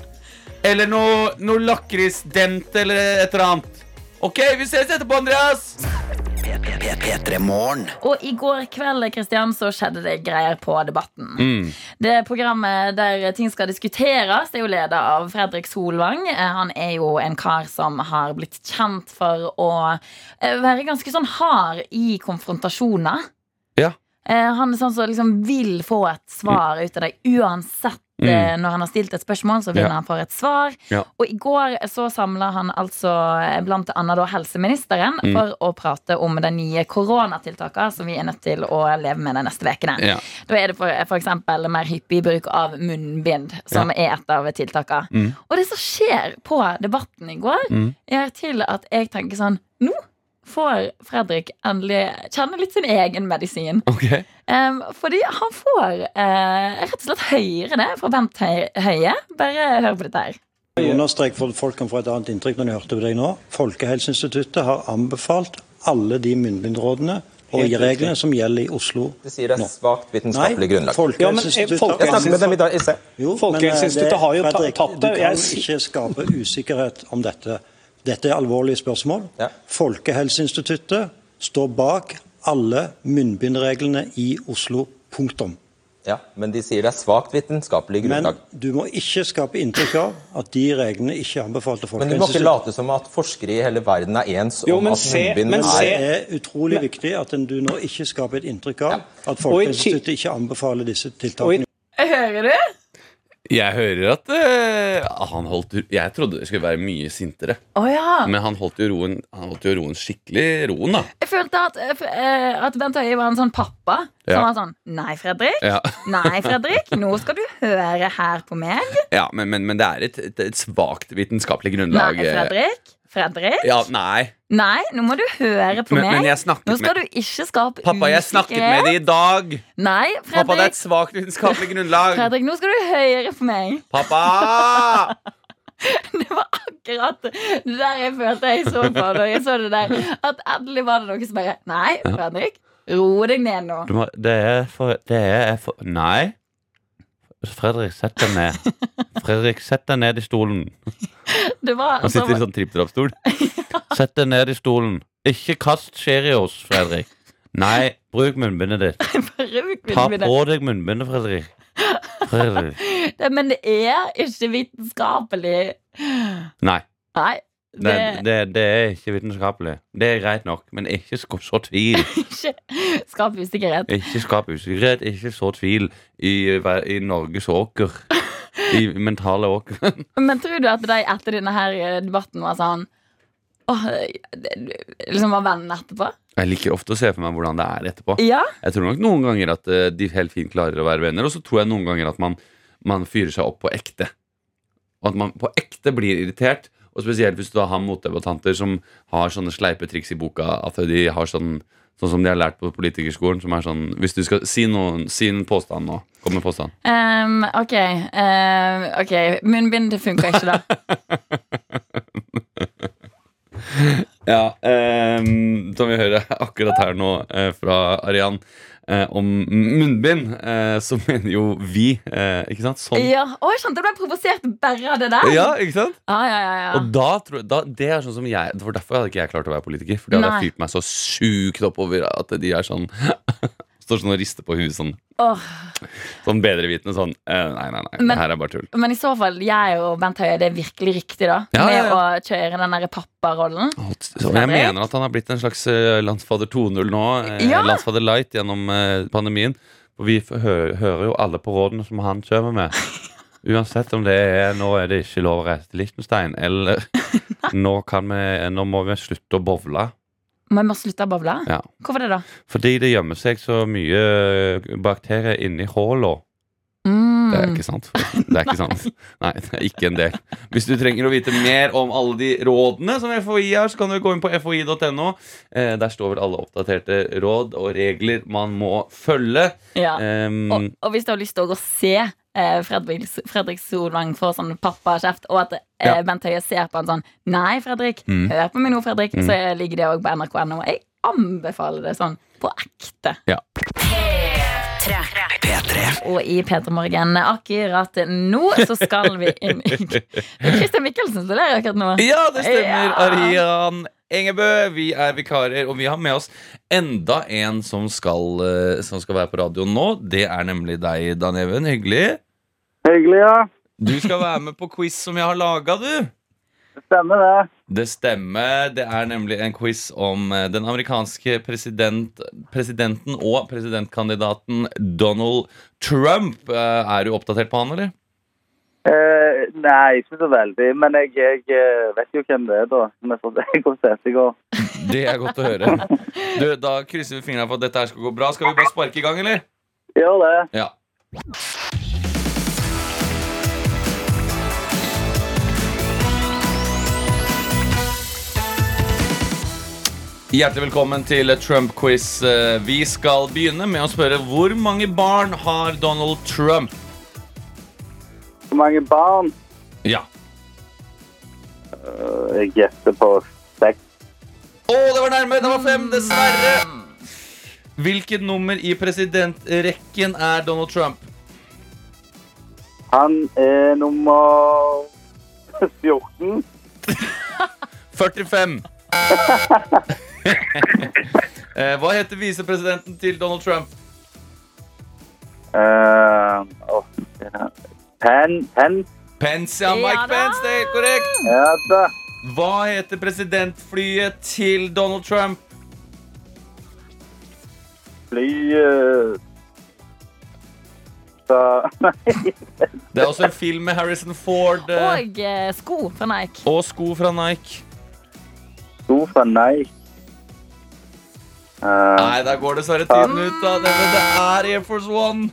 Speaker 2: Eller noe, noe lakrisdent eller et eller annet. OK, vi ses etterpå, Andreas!
Speaker 4: P- P3 Morgen.
Speaker 3: Og i går kveld Kristian, så skjedde det greier på Debatten.
Speaker 2: Mm.
Speaker 3: Det programmet der ting skal diskuteres, det er jo leda av Fredrik Solvang. Eh, Han er jo en kar som har blitt kjent for å eh, være ganske sånn hard i konfrontasjoner.
Speaker 2: Ja.
Speaker 3: Eh, Han er sånn som liksom vil få et svar ut av deg uansett eh, når han har stilt et spørsmål, så vinner
Speaker 2: Mm. Ja.
Speaker 3: han for et svar.
Speaker 2: Ja.
Speaker 3: Og i går eh, så samla han altså eh, blant annet da helseministeren
Speaker 2: Mm.
Speaker 3: for å prate om de nye koronatiltakene som vi er nødt til å leve med de neste ukene.
Speaker 2: Ja.
Speaker 3: Da er det for, eh, for eksempel mer hyppig bruk av munnbind, som er et av tiltakene.
Speaker 2: Mm.
Speaker 3: Og det som skjer på debatten i går,
Speaker 2: Mm.
Speaker 3: gjør til at jeg tenker sånn Nå får Fredrik endelig kjenne litt sin egen medisin.
Speaker 2: Ok.
Speaker 3: Em, Ehm, fordi han får eh, rett og slett høyere det fra Bent Høy- Høie. Bare hør på dette her.
Speaker 5: Understrek for at folk kan få et annet inntrykk når de hørte på deg nå. Folkehelseinstituttet har anbefalt alle de munnbindrådene og
Speaker 6: Helt
Speaker 5: reglene som gjelder i Oslo.
Speaker 7: Du sier det er
Speaker 5: nå.
Speaker 7: svakt vitenskapelig grunnlag.
Speaker 6: Ja, men, eh,
Speaker 5: Folkehelseinstituttet
Speaker 7: Jeg
Speaker 6: folke-
Speaker 5: har
Speaker 7: snakket med dem i dag i sted.
Speaker 5: Jo,
Speaker 6: Folkehelseinstituttet
Speaker 5: men, eh, det-
Speaker 6: har jo ta-
Speaker 5: Fredrik,
Speaker 6: tatt det.
Speaker 5: Du kan
Speaker 6: Jeg
Speaker 5: jo
Speaker 6: s-
Speaker 5: ikke skape usikkerhet om dette. Dette er alvorlige spørsmål.
Speaker 7: Ja.
Speaker 5: Folkehelseinstituttet står bak alle munnbindreglene i Oslo. Punktum.
Speaker 7: Ja, men de sier det er svakt vitenskapelig
Speaker 5: Men
Speaker 7: grunnlag.
Speaker 5: du må ikke skape inntrykk av at de reglene ikke er anbefalt av
Speaker 7: Men du må ikke
Speaker 5: Folkehelseinstituttet.
Speaker 7: late som at forskere i hele verden er ens
Speaker 6: Jo,
Speaker 7: om
Speaker 6: men
Speaker 7: at
Speaker 6: se-
Speaker 7: munnbind
Speaker 6: men se-
Speaker 7: er
Speaker 5: Det er utrolig viktig at en- du nå ikke skaper et inntrykk av at
Speaker 6: Og i ti-
Speaker 5: Folkehelseinstituttet ikke anbefaler disse
Speaker 6: Og i
Speaker 5: tiltakene.
Speaker 3: Hører du?
Speaker 2: Jeg hører at eh, han holdt Jeg trodde det skulle være mye sintere.
Speaker 3: Å ja.
Speaker 2: Men han holdt jo roen, han holdt jo roen skikkelig roen, da.
Speaker 3: Jeg følte at, eh, f- eh, at Bent Høie var en sånn pappa som
Speaker 2: Ja.
Speaker 3: var sånn Nei, Fredrik.
Speaker 2: Ja,
Speaker 3: Nei, Fredrik. Nå skal du høre her på meg.
Speaker 2: ja men, men, men det er et, et, et svakt vitenskapelig grunnlag.
Speaker 3: Nei,
Speaker 2: eh.
Speaker 3: Fredrik. Fredrik.
Speaker 2: Ja, nei.
Speaker 3: Nei, nå må du høre på
Speaker 2: Men,
Speaker 3: meg.
Speaker 2: men jeg snakket
Speaker 3: nå skal
Speaker 2: med
Speaker 3: du ikke skape
Speaker 2: Pappa, jeg snakket med
Speaker 3: usikkerhet.
Speaker 2: det i dag!
Speaker 3: Nei,
Speaker 2: Pappa, det er
Speaker 3: Fredrik.
Speaker 2: et svakt vitenskapelig grunnlag!
Speaker 3: Fredrik, nå skal du høre på meg.
Speaker 2: Pappa!
Speaker 3: Det var akkurat det der jeg følte jeg så på når jeg så det der. At endelig var det noen som bare Nei, Fredrik. Ro deg ned nå.
Speaker 2: Du må, det er for Det er for Nei. Fredrik, sett deg ned. Fredrik, sett deg ned i stolen.
Speaker 3: Det var
Speaker 2: Han sitter i
Speaker 3: som
Speaker 2: sånn tripp-trapp-stol. Sett deg ned i stolen. Ikke kast Cheerios, Fredrik. Nei, bruk munnbindet ditt. Ta på
Speaker 3: brukvinner.
Speaker 2: deg munnbindet, Fredrik. Fredrik.
Speaker 3: Men det er ikke vitenskapelig.
Speaker 2: Nei,
Speaker 3: Nei.
Speaker 2: det,
Speaker 3: Det er
Speaker 2: det, det er ikke vitenskapelig. Det er greit nok, men ikke skap så tvil.
Speaker 3: ikke skap usikkerhet.
Speaker 2: Ikke skap usikkerhet, ikke så tvil i, ver- i Norges åker. I mentale åker.
Speaker 3: Men tror du at de etter denne her debatten var sånn Åh, det- Liksom var vennene etterpå?
Speaker 2: Jeg liker ofte å se for meg hvordan det er etterpå.
Speaker 3: Ja?
Speaker 2: Jeg tror nok noen ganger at eh, de helt fint klarer å være venner, og så tror jeg noen ganger at man, man fyrer seg opp på ekte. Og at man på ekte blir irritert, og spesielt hvis du da har motdebattanter som har sånne sleipe triks i boka, at de har sånn Sånn som de har lært på politikerskolen, som er sånn Hvis du skal si noen Si en påstand nå. Kom med påstand.
Speaker 3: Ehm, ok. ehm, ok, Munnbind funka ikke, da.
Speaker 2: Ja, ehm, som vi hører akkurat her nå eh, fra Arian eh, om munnbind, eh, så mener jo vi eh, Ikke sant? Sånn.
Speaker 3: Ja, å, jeg skjønte jeg ble provosert bare av det der.
Speaker 2: Ja, ikke sant?
Speaker 3: Ja, ja, ja, ja.
Speaker 2: Og da, tror jeg- da, det er sånn som jeg For derfor hadde ikke jeg klart å være politiker. For da hadde jeg fyrt meg så sjukt oppover at de er sånn Står sånn og rister på huet sånn.
Speaker 3: Åh,
Speaker 2: Sånn bedrevitende sånn eh, Nei, nei, nei.
Speaker 3: Men-
Speaker 2: det her er bare tull.
Speaker 3: men i så fall, jeg og Bent Høie, det er virkelig riktig, da.
Speaker 2: Ja,
Speaker 3: med
Speaker 2: ja, ja.
Speaker 3: å kjøre den derre papparollen.
Speaker 2: Så jeg mener at han har blitt en slags eh, landsfader 2.0 nå. eh,
Speaker 3: Ja.
Speaker 2: Landsfader light gjennom eh, pandemien. For vi f- hø hører jo alle på rådene som han kommer med. Uansett om det er nå er det ikke lov å reise til Liechtenstein, eller nå, kan vi, nå må vi slutte å bowle.
Speaker 3: Men vi må slutte å bowle.
Speaker 2: Ja.
Speaker 3: Hvorfor det, da?
Speaker 2: Fordi det gjemmer seg så mye eh, bakterier inni håla. Det er
Speaker 3: Mm.
Speaker 2: ikke sant. Det er ikke sant. Nei, det er ikke en del. Hvis du trenger å vite mer om alle de rådene som FHI har, så kan du gå inn på fhi.no. Eh, der står vel alle oppdaterte råd og regler man må følge.
Speaker 3: Ja.
Speaker 2: Ehm,
Speaker 3: Og, og hvis du har lyst til å gå og se eh, Fredrik, Fredrik Solvang få sånn pappakjeft, og at eh,
Speaker 2: Ja.
Speaker 3: Bent Høie ser på han sånn Nei, Fredrik,
Speaker 2: Mm.
Speaker 3: hør på meg nå, Fredrik,
Speaker 2: Mm.
Speaker 3: så ligger det òg på nrk.no. Jeg anbefaler det sånn på ekte.
Speaker 4: P3.
Speaker 3: Og i P3 Morgen akkurat nå så skal vi inn i Christian Mikkelsen som ler akkurat nå.
Speaker 2: Ja, det stemmer,
Speaker 3: Ja.
Speaker 2: Arian Engebø. Vi er vikarer, og vi har med oss enda en som skal, eh, som skal være på radioen nå. Det er nemlig deg, Dan Even. Hyggelig.
Speaker 8: Hyggelig, ja.
Speaker 2: Du skal være med på quiz som jeg har laga, du.
Speaker 8: Stemmer det.
Speaker 2: Det stemmer. Det er nemlig en quiz om eh, den amerikanske president, presidenten og presidentkandidaten Donald Trump. Eh, Er du oppdatert på han, eller?
Speaker 8: Eh, nei, ikke så veldig. Men jeg, jeg eh, vet jo hvem det er, da. Som jeg får- jeg kom til i går.
Speaker 2: Det er godt å høre. Du, da krysser vi fingrene for at dette her skal gå bra. Skal vi bare sparke i gang, eller?
Speaker 8: Gjør det.
Speaker 2: Ja. Hjertelig velkommen til Trump-quiz. Eh, Vi skal begynne med å spørre hvor mange barn har Donald Trump?
Speaker 8: Hvor mange barn?
Speaker 2: Ja.
Speaker 8: Eh, Jeg gjetter på seks.
Speaker 2: Å, det var nærme! Det var fem, dessverre. Hvilket nummer i presidentrekken er Donald Trump?
Speaker 8: Han er nummer 14.
Speaker 2: 45. Eh, Hva heter visepresidenten til Donald Trump?
Speaker 8: Eh, åh, ja. Pen, pen.
Speaker 2: Pence, ja. Mike
Speaker 3: Ja da.
Speaker 2: Pence, det er helt korrekt.
Speaker 8: Ja da.
Speaker 2: Hva heter presidentflyet til Donald Trump?
Speaker 8: Fly eh, så- Nei.
Speaker 2: Det er også en film med Harrison Ford eh,
Speaker 3: Og eh, sko fra Nike.
Speaker 2: og sko fra Nike.
Speaker 8: Sofa, nei. Eh,
Speaker 2: Nei, der går dessverre tiden
Speaker 3: Mm.
Speaker 2: ut. da Det, det det er Air Force One.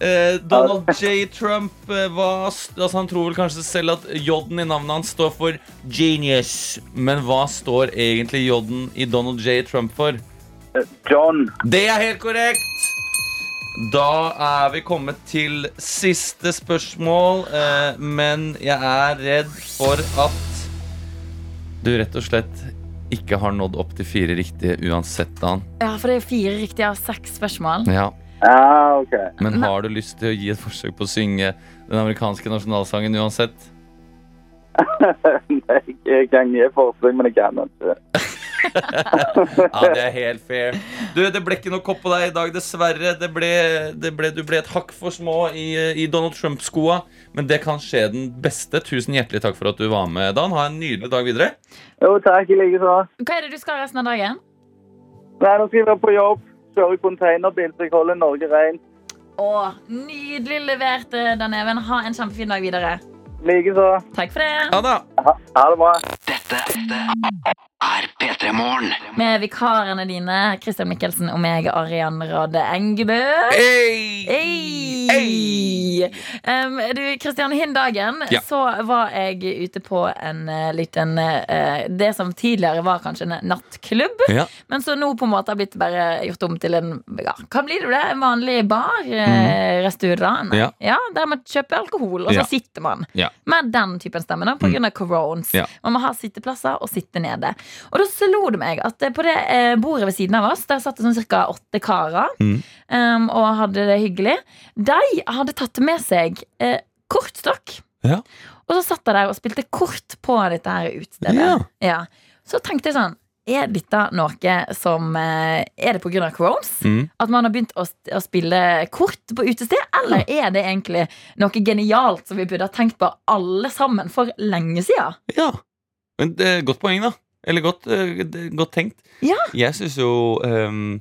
Speaker 2: Eh, Donald J. Trump eh, hva st- altså Han tror vel kanskje selv at J-en i navnet hans står for genius. Men hva står egentlig J-en i Donald J. Trump for?
Speaker 8: John.
Speaker 2: Det er helt korrekt! Da er vi kommet til siste spørsmål, eh, men jeg er redd for at du rett og slett ikke har nådd opp til fire riktige uansett, Dan.
Speaker 3: Ja, for det er fire riktige av seks spørsmål.
Speaker 2: Ja.
Speaker 8: Ja, OK.
Speaker 2: Men har du lyst til å gi et forsøk på å synge den amerikanske nasjonalsangen uansett?
Speaker 8: Nei, jeg kan gi forslag, men jeg kan ikke.
Speaker 2: Ja, det er helt fair. Du, det ble ikke noe kopp på deg i dag, dessverre. Det ble, det ble, du ble et hakk for små i, i Donald Trump-skoa. Men det kan skje den beste. Tusen hjertelig takk for at du var med, Dan. Ha en nydelig dag videre.
Speaker 8: Jo, takk i like så.
Speaker 3: Hva er det du skal resten av dagen?
Speaker 8: Nei, nå skal jeg være på jobb. Kjøre containerbil, så jeg holder Norge ren.
Speaker 3: Å, nydelig levert, eh, Dan Even. Ha en kjempefin dag videre.
Speaker 8: Like så.
Speaker 3: Takk for det.
Speaker 2: Ha det.
Speaker 8: Ha, ha det bra.
Speaker 4: er P3 Morgen.
Speaker 3: Med vikarene dine, Christian Mikkelsen og meg, Arian Rade Engebø. Hey! Um, du, Christian, hin dagen
Speaker 2: Ja.
Speaker 3: så var jeg ute på en eh, liten eh, Det som tidligere var kanskje en nattklubb,
Speaker 2: Ja.
Speaker 3: men så nå på en måte har blitt bare gjort om til en ja, Hva blir det? det? En vanlig bar? eh, Restaurant?
Speaker 2: Mm. Ja.
Speaker 3: Der man kjøper alkohol, og så
Speaker 2: Ja.
Speaker 3: sitter man.
Speaker 2: Ja. Mm.
Speaker 3: Med den typen stemme, da, på grunn av corones.
Speaker 2: Ja.
Speaker 3: Man må ha sitteplasser og sitte nede. Og da slo det meg at eh, på det eh, bordet ved siden av oss, der satt det sånn ca. åtte karer
Speaker 2: Mm.
Speaker 3: em, og hadde det hyggelig. De hadde tatt med seg eh, kortstokk.
Speaker 2: Ja.
Speaker 3: Og så satt de der og spilte kort på dette her utstedet.
Speaker 2: Ja.
Speaker 3: Så tenkte jeg sånn Er dette noe som eh, Er det pga. corones?
Speaker 2: Mm.
Speaker 3: At man har begynt å, å spille kort på utested? Eller er det egentlig noe genialt som vi burde ha tenkt på alle sammen for lenge siden?
Speaker 2: ja. Men det er godt poeng, da. Eller godt, eh, det er godt tenkt.
Speaker 3: Ja.
Speaker 2: Jeg syns jo ehm,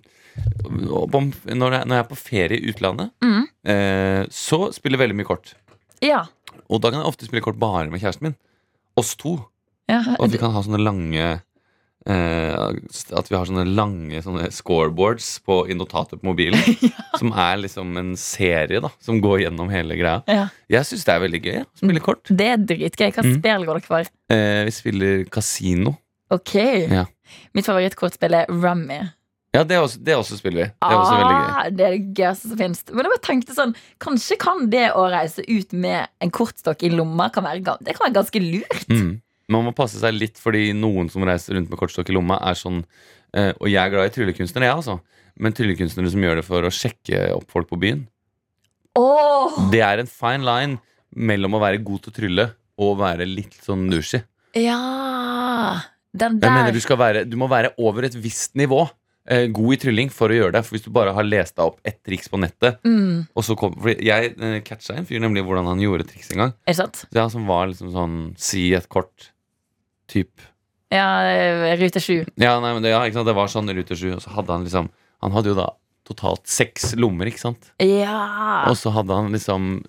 Speaker 2: om- når, jeg, når jeg er på ferie i utlandet,
Speaker 3: Mm.
Speaker 2: eh, så spiller jeg veldig mye kort.
Speaker 3: Ja.
Speaker 2: Og da kan jeg ofte spille kort bare med kjæresten min. Oss to.
Speaker 3: ja.
Speaker 2: Og at vi kan ha sånne lange eh, At vi har sånne lange sånne scoreboards på, i notater på mobilen. Som er liksom en serie da som går gjennom hele greia.
Speaker 3: Ja.
Speaker 2: Jeg syns det er veldig gøy å spille kort.
Speaker 3: Det er dritgøy. Hva
Speaker 2: Mm.
Speaker 3: spill går dere for?
Speaker 2: Eh, vi spiller kasino.
Speaker 3: Ok.
Speaker 2: Ja.
Speaker 3: Mitt favorittkortspill er Rummy.
Speaker 2: Ja, det, er også, det også spiller vi. Det er også veldig gøy.
Speaker 3: Ah, det er det gøyeste som finnes. Men jeg bare tenkte sånn Kanskje kan det å reise ut med en kortstokk i lomma kan være, ga- Det kan være ganske lurt.
Speaker 2: Mm. Man må passe seg litt, fordi noen som reiser rundt med kortstokk i lomma, er sånn eh, Og jeg er glad i tryllekunstnere, jeg, altså. Men tryllekunstnere som gjør det for å sjekke opp folk på byen.
Speaker 3: Åh,
Speaker 2: Det er en fine line mellom å være god til å trylle og være litt sånn douchey.
Speaker 3: ja Den
Speaker 2: Jeg mener
Speaker 3: der.
Speaker 2: du, skal være, du må være over et visst nivå eh, god i trylling for å gjøre det. For hvis du bare har lest deg opp ett triks på nettet
Speaker 3: Mm,
Speaker 2: og så kom, fordi Jeg eh, catcha en fyr nemlig hvordan han gjorde triks en gang.
Speaker 3: er det sant?
Speaker 2: Ja, som var liksom sånn si et kort typ
Speaker 3: Ja, eh, rute sju.
Speaker 2: Ja, nei, men det, ja ikke sant? det var sånn rute 7, og så hadde han liksom Han hadde jo da totalt seks lommer, ikke sant?
Speaker 3: Ja.
Speaker 2: Og så hadde han liksom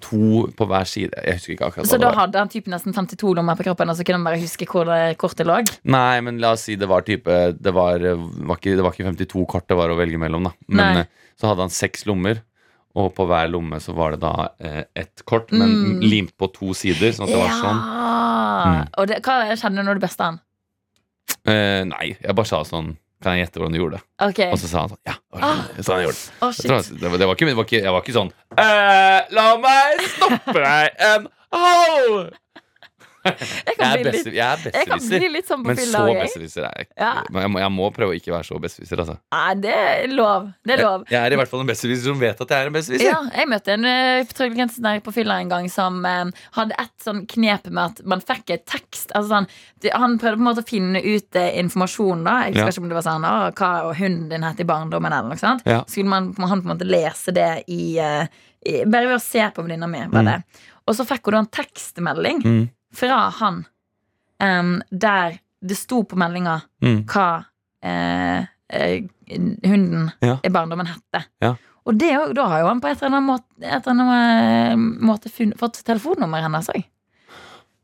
Speaker 2: to på hver side. Jeg husker ikke akkurat
Speaker 3: Så da
Speaker 2: det var.
Speaker 3: hadde han typen nesten 52 lommer på kroppen, og så kunne han bare huske hvor det kortet lå?
Speaker 2: Nei, men la oss si det var type Det var, var, ikke, det var ikke 52 kort det var å velge mellom, da. Men
Speaker 3: Nei.
Speaker 2: eh, så hadde han seks lommer, og på hver lomme så var det da eh, ett kort, men
Speaker 3: Mm.
Speaker 2: limt på to sider, sånn at det var sånn.
Speaker 3: Ja.
Speaker 2: Mm.
Speaker 3: Og det, hva kjenner du når du beste han?
Speaker 2: Eh, nei, jeg bare sa sånn Kan jeg gjette hvordan du gjorde det?
Speaker 3: Ok.
Speaker 2: Og så sa han sånn. Ja. det var
Speaker 3: Ah.
Speaker 2: sånn- sånn jeg gjorde det.
Speaker 3: Å,
Speaker 2: Jeg tror
Speaker 3: shit.
Speaker 2: han- det, var, det, var ikke, det var ikke Jeg var ikke sånn eh, La meg stoppe deg en hal!
Speaker 3: Jeg
Speaker 2: Jeg
Speaker 3: kan
Speaker 2: er
Speaker 3: bli litt,
Speaker 2: beste- jeg er
Speaker 3: jeg kan
Speaker 2: besteviser.
Speaker 3: bli litt sånn på
Speaker 2: Men
Speaker 3: fylla.
Speaker 2: så
Speaker 3: ok?
Speaker 2: besserwisser er jeg ikke.
Speaker 3: Ja.
Speaker 2: Men Jeg, må, jeg må prøve å ikke være så besserwisser, altså.
Speaker 3: Nei, det er lov. Det er lov.
Speaker 2: Jeg, jeg er i hvert fall en besserwisser som vet at jeg er en besserwisser.
Speaker 3: Ja, jeg møtte en eh, trøndergenser på fylla en gang som eh, hadde et sånn knep med at man fikk et tekst. Altså sånn, det- han prøvde på en måte å finne ut eh, informasjon. da Jeg husker
Speaker 2: Ja.
Speaker 3: ikke om det var sånn Å, hva og hunden din het i barndommen, eller noe sånt.
Speaker 2: Ja.
Speaker 3: Så skulle man, han på en måte lese det i, eh, i Bare ved å se på venninna mi, var det. Og så fikk hun da en tekstmelding
Speaker 2: Mm.
Speaker 3: fra han em, der det sto på meldinga
Speaker 2: Mm.
Speaker 3: hva eh, eh, hunden
Speaker 2: Ja.
Speaker 3: i barndommen hette.
Speaker 2: Ja.
Speaker 3: Og det, er jo- da har jo han på et eller annet måte, et eller annet eh, måte funn- fått telefonnummeret hennes òg.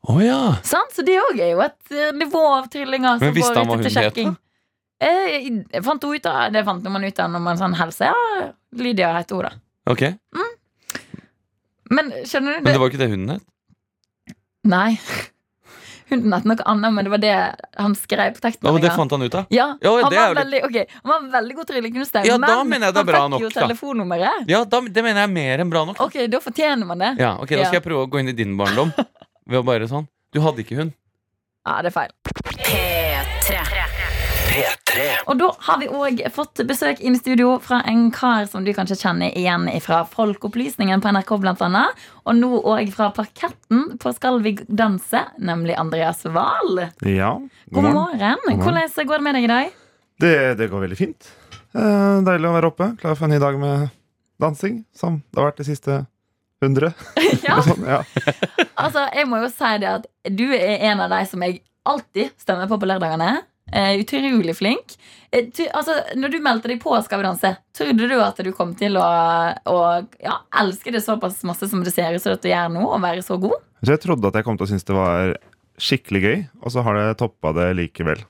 Speaker 2: Å ja.
Speaker 3: Så det òg er jo et eh, nivå av trillinger
Speaker 2: Men
Speaker 3: som
Speaker 2: visste
Speaker 3: går
Speaker 2: han hva
Speaker 3: ut etter
Speaker 2: hunden het,
Speaker 3: sjekking. Eh, jeg fant hun ut av, det fant man ut av når man sånn helse. Ja, Lydia heter hun, da.
Speaker 2: Ok.
Speaker 3: Men skjønner du
Speaker 2: Men det var ikke det hunden het?
Speaker 3: Nei. Hunden het noe annet, men det var det han skrev på
Speaker 2: Ja, men det
Speaker 3: tekstmeldinga.
Speaker 2: fant han ut av.
Speaker 3: Ja,
Speaker 2: Ja,
Speaker 3: han,
Speaker 2: det er
Speaker 3: var
Speaker 2: jo
Speaker 3: veldig, ok, han var veldig god tryllekunstner,
Speaker 2: Ja,
Speaker 3: men
Speaker 2: da mener jeg det er
Speaker 3: han
Speaker 2: bra
Speaker 3: fikk
Speaker 2: nok,
Speaker 3: jo
Speaker 2: da.
Speaker 3: telefonnummeret.
Speaker 2: Ja, da, det mener jeg er mer enn bra nok. da.
Speaker 3: Ok, da fortjener man det. Ja,
Speaker 2: Ja, ok, Da skal jeg prøve å gå inn i din barndom ved å bare sånn. Du hadde ikke hund.
Speaker 3: det er feil. Og da har vi òg fått besøk inn i studio fra en kar som du kanskje kjenner igjen fra Folkeopplysningen på NRK, blant annet. Og nå òg fra Parketten på Skal vi danse, nemlig Andreas Wahl.
Speaker 6: Ja,
Speaker 3: God morgen.
Speaker 6: morgen.
Speaker 3: Hvordan går det med deg i dag?
Speaker 6: Det, det går veldig fint. Eh, deilig å være oppe. Klar for en ny dag med dansing, som det har vært de siste 100.
Speaker 3: Ja,
Speaker 6: Og sånn, ja.
Speaker 3: altså, jeg må jo si det at du er en av de som jeg alltid stemmer på på lørdagene. Eh, utrolig flink. Eh, ty, altså, når du meldte deg på Skal vi danse, trodde du at du kom til å, å ja, elske det såpass masse som det ser ut som at du gjør nå, og være så god?
Speaker 6: Så jeg trodde at jeg kom til å synes det var skikkelig gøy, og så har det toppa det likevel.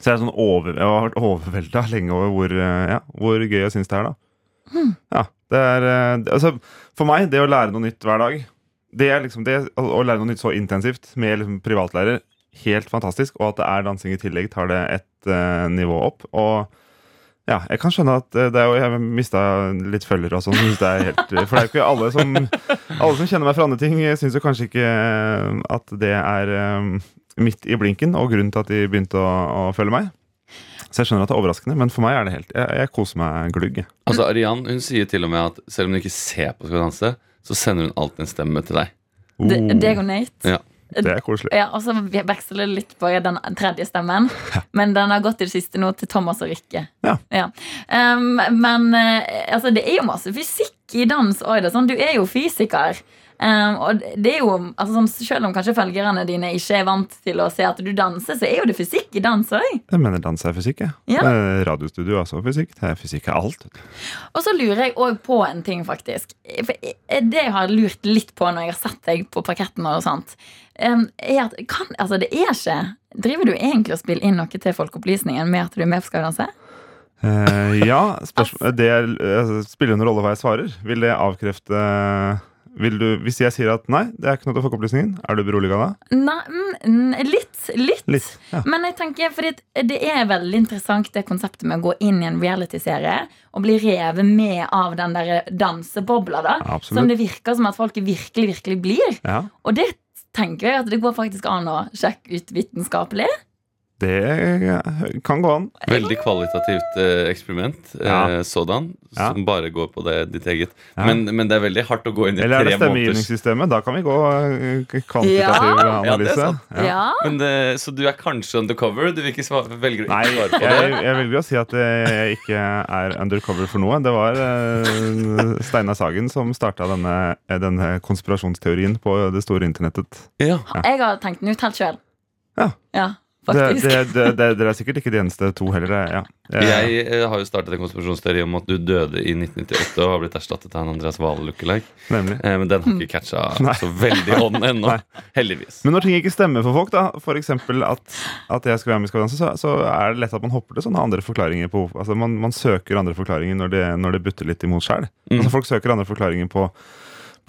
Speaker 6: Så jeg, er sånn over, jeg har vært overvelda lenge over hvor, eh, ja, hvor gøy jeg syns det er, da. Ja, det er, eh, det- altså, for meg, det å lære noe nytt hver dag det er liksom det, Å å lære noe nytt så intensivt med liksom privatlærer, helt fantastisk. Og at det er dansing i tillegg, tar det et eh, nivå opp. Og ja, jeg kan skjønne at eh, det er jo, jeg mista litt følgere og sånn. synes det er helt- For det er jo ikke alle som alle som kjenner meg fra andre ting, syns jo kanskje ikke eh, at det er eh, midt i blinken, og grunnen til at de begynte å, å følge meg. Så jeg skjønner at det er overraskende, men for meg er det helt Jeg, jeg koser meg glugg. jeg.
Speaker 2: Altså, Arian hun sier til og med at selv om hun ikke ser på Skal vi danse, så sender hun alltid en stemme til deg.
Speaker 6: Oh,
Speaker 3: Det- Deg og Nate.
Speaker 2: Ja.
Speaker 6: det er koselig.
Speaker 3: Ja, og så veksler det litt på den tredje stemmen. Men den har gått til det siste nå til Thomas og Rikke.
Speaker 6: Ja.
Speaker 3: Um, men eh, altså, det er jo masse fysikk i dans òg. Sånn. Du er jo fysiker. Um, og det er jo, altså, sånn, Selv om kanskje følgerne dine ikke er vant til å se at du danser, så er jo det fysikk i dans òg.
Speaker 6: Jeg mener dans er fysikk, jeg.
Speaker 3: Ja.
Speaker 6: Eh, Radiostudio er også fysikk. Det er fysikk er alt.
Speaker 3: Og så lurer jeg òg på en ting, faktisk. For det jeg har lurt litt på når jeg har sett deg på parketten, og sånt, em, er at kan, altså det er ikke Driver du egentlig og spiller inn noe til Folkeopplysningen med at du er med på Skal vi danse?
Speaker 6: Eh, ja, spørsmål, det er, eh, spiller en rolle hva jeg svarer. Vil det avkrefte vil du, Hvis jeg sier at nei, det er ikke noe til folkeopplysningen, er du beroliga da?
Speaker 3: Nei, mm, mm, litt. Litt.
Speaker 6: Litt. Ja.
Speaker 3: Men jeg tenker, fordi at det er veldig interessant det konseptet med å gå inn i en realityserie og bli revet med av den der dansebobla, da.
Speaker 6: Absolutt.
Speaker 3: Som det virker som at folk virkelig, virkelig blir.
Speaker 6: ja.
Speaker 3: Og det tenker jeg at det går faktisk an å sjekke ut vitenskapelig.
Speaker 6: Det kan gå an.
Speaker 2: Veldig kvalitativt eh, eksperiment. eh,
Speaker 6: Ja.
Speaker 2: Sådan.
Speaker 6: Ja.
Speaker 2: Som bare går på det ditt eget.
Speaker 6: Ja.
Speaker 2: Men, men det er veldig hardt å gå inn i
Speaker 6: Eller er det
Speaker 2: tre måneders
Speaker 6: stemmegivningssystemet? Da kan vi gå eh, k- kvantitativ
Speaker 2: Ja, det er
Speaker 6: analyse.
Speaker 2: sant.
Speaker 6: Ja.
Speaker 3: Ja.
Speaker 2: Men det, så du er kanskje undercover? Du vil ikke svare, velger å
Speaker 6: Nei,
Speaker 2: ikke svare på
Speaker 6: jeg,
Speaker 2: det?
Speaker 6: jeg velger å si at eh, jeg ikke er undercover for noe. Det var eh, Steinar Sagen som starta denne, eh, denne konspirasjonsteorien på det store internettet.
Speaker 2: Ja.
Speaker 3: Jeg har tenkt den ut helt sjøl.
Speaker 6: Ja.
Speaker 3: Ja, faktisk.
Speaker 6: Det, det, det, det, dere er sikkert ikke de eneste to heller. det- Ja. Eh,
Speaker 2: Jeg eh, har jo startet en konspirasjonsteori om at du døde i 1998 og har blitt erstattet av en Andreas Vale-lookalike.
Speaker 6: Nemlig.
Speaker 2: Eh, Men den har ikke catcha
Speaker 6: Nei.
Speaker 2: så veldig ånden ennå.
Speaker 6: Nei.
Speaker 2: Heldigvis.
Speaker 6: Men når ting ikke stemmer for folk, da, f.eks. At, at jeg skal være med i Skal vi danse, så, så er det lett at man hopper til sånne andre forklaringer. På, altså man, man søker andre forklaringer når det, når det butter litt imot sjæl. Altså folk søker andre forklaringer på,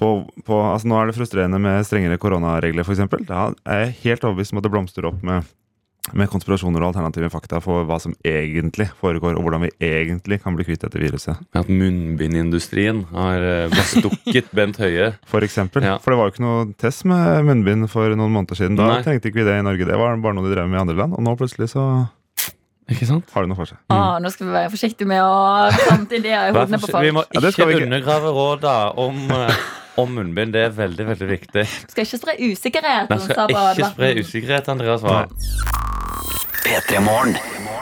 Speaker 6: på, på altså Nå er det frustrerende med strengere koronaregler, f.eks. Da er jeg helt overbevist om at det blomstrer opp med med konspirasjoner og alternative fakta for hva som egentlig foregår, og hvordan vi egentlig kan bli kvitt dette viruset.
Speaker 2: At munnbindindustrien har eh, bestukket Bent Høie.
Speaker 6: For eksempel.
Speaker 2: Ja.
Speaker 6: For det var jo ikke noe test med munnbind for noen måneder siden. Da
Speaker 2: Nei.
Speaker 6: trengte ikke vi det i Norge. Det var bare noe de drev med i andre land. Og nå plutselig så
Speaker 2: Ikke sant?
Speaker 6: har det noe for seg.
Speaker 3: Å, nå skal vi være forsiktige med å plante ideer i
Speaker 2: Vær
Speaker 3: hodene på
Speaker 2: forsi- Vi må
Speaker 3: folk.
Speaker 6: Ja, det
Speaker 2: ikke
Speaker 6: skal vi ikke.
Speaker 2: undergrave råda om, eh, om munnbind. Det er veldig, veldig viktig.
Speaker 3: Skal ikke spre usikkerhet.
Speaker 2: Man
Speaker 3: som sa
Speaker 2: skal
Speaker 3: på
Speaker 2: ikke spre
Speaker 3: debatten.
Speaker 2: usikkerhet, Andreas Wahl.
Speaker 4: P3 Morgen.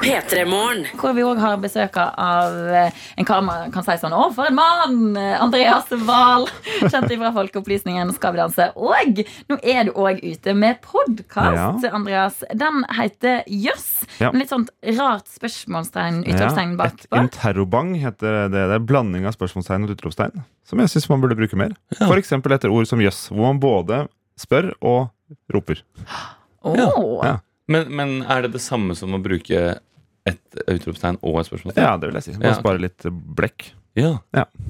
Speaker 9: P3morgen.
Speaker 3: Hvor vi òg har besøk av eh, en kar man kan si sånn Å, for en mann! Eh, Andreas Wahl. Kjent ifra Folkeopplysningen Skal vi danse. Og nå er du òg ute med podkast, Andreas. Den heter Jøss.
Speaker 6: Ja.
Speaker 3: Litt sånt rart spørsmålstegn, utropstegn
Speaker 6: Ja, et
Speaker 3: bakpå.
Speaker 6: interrobang heter det. Det er blanding av spørsmålstegn og utropstegn. Som jeg syns man burde bruke mer. For eksempel etter ord som jøss, hvor man både spør og roper.
Speaker 3: Åh.
Speaker 6: Ja.
Speaker 2: Men, men er det det samme som å bruke et utropstegn og et spørsmålstegn?
Speaker 6: Ja, det vil jeg si. Bare
Speaker 2: Ja, ok.
Speaker 6: spare litt blekk.
Speaker 2: Ja.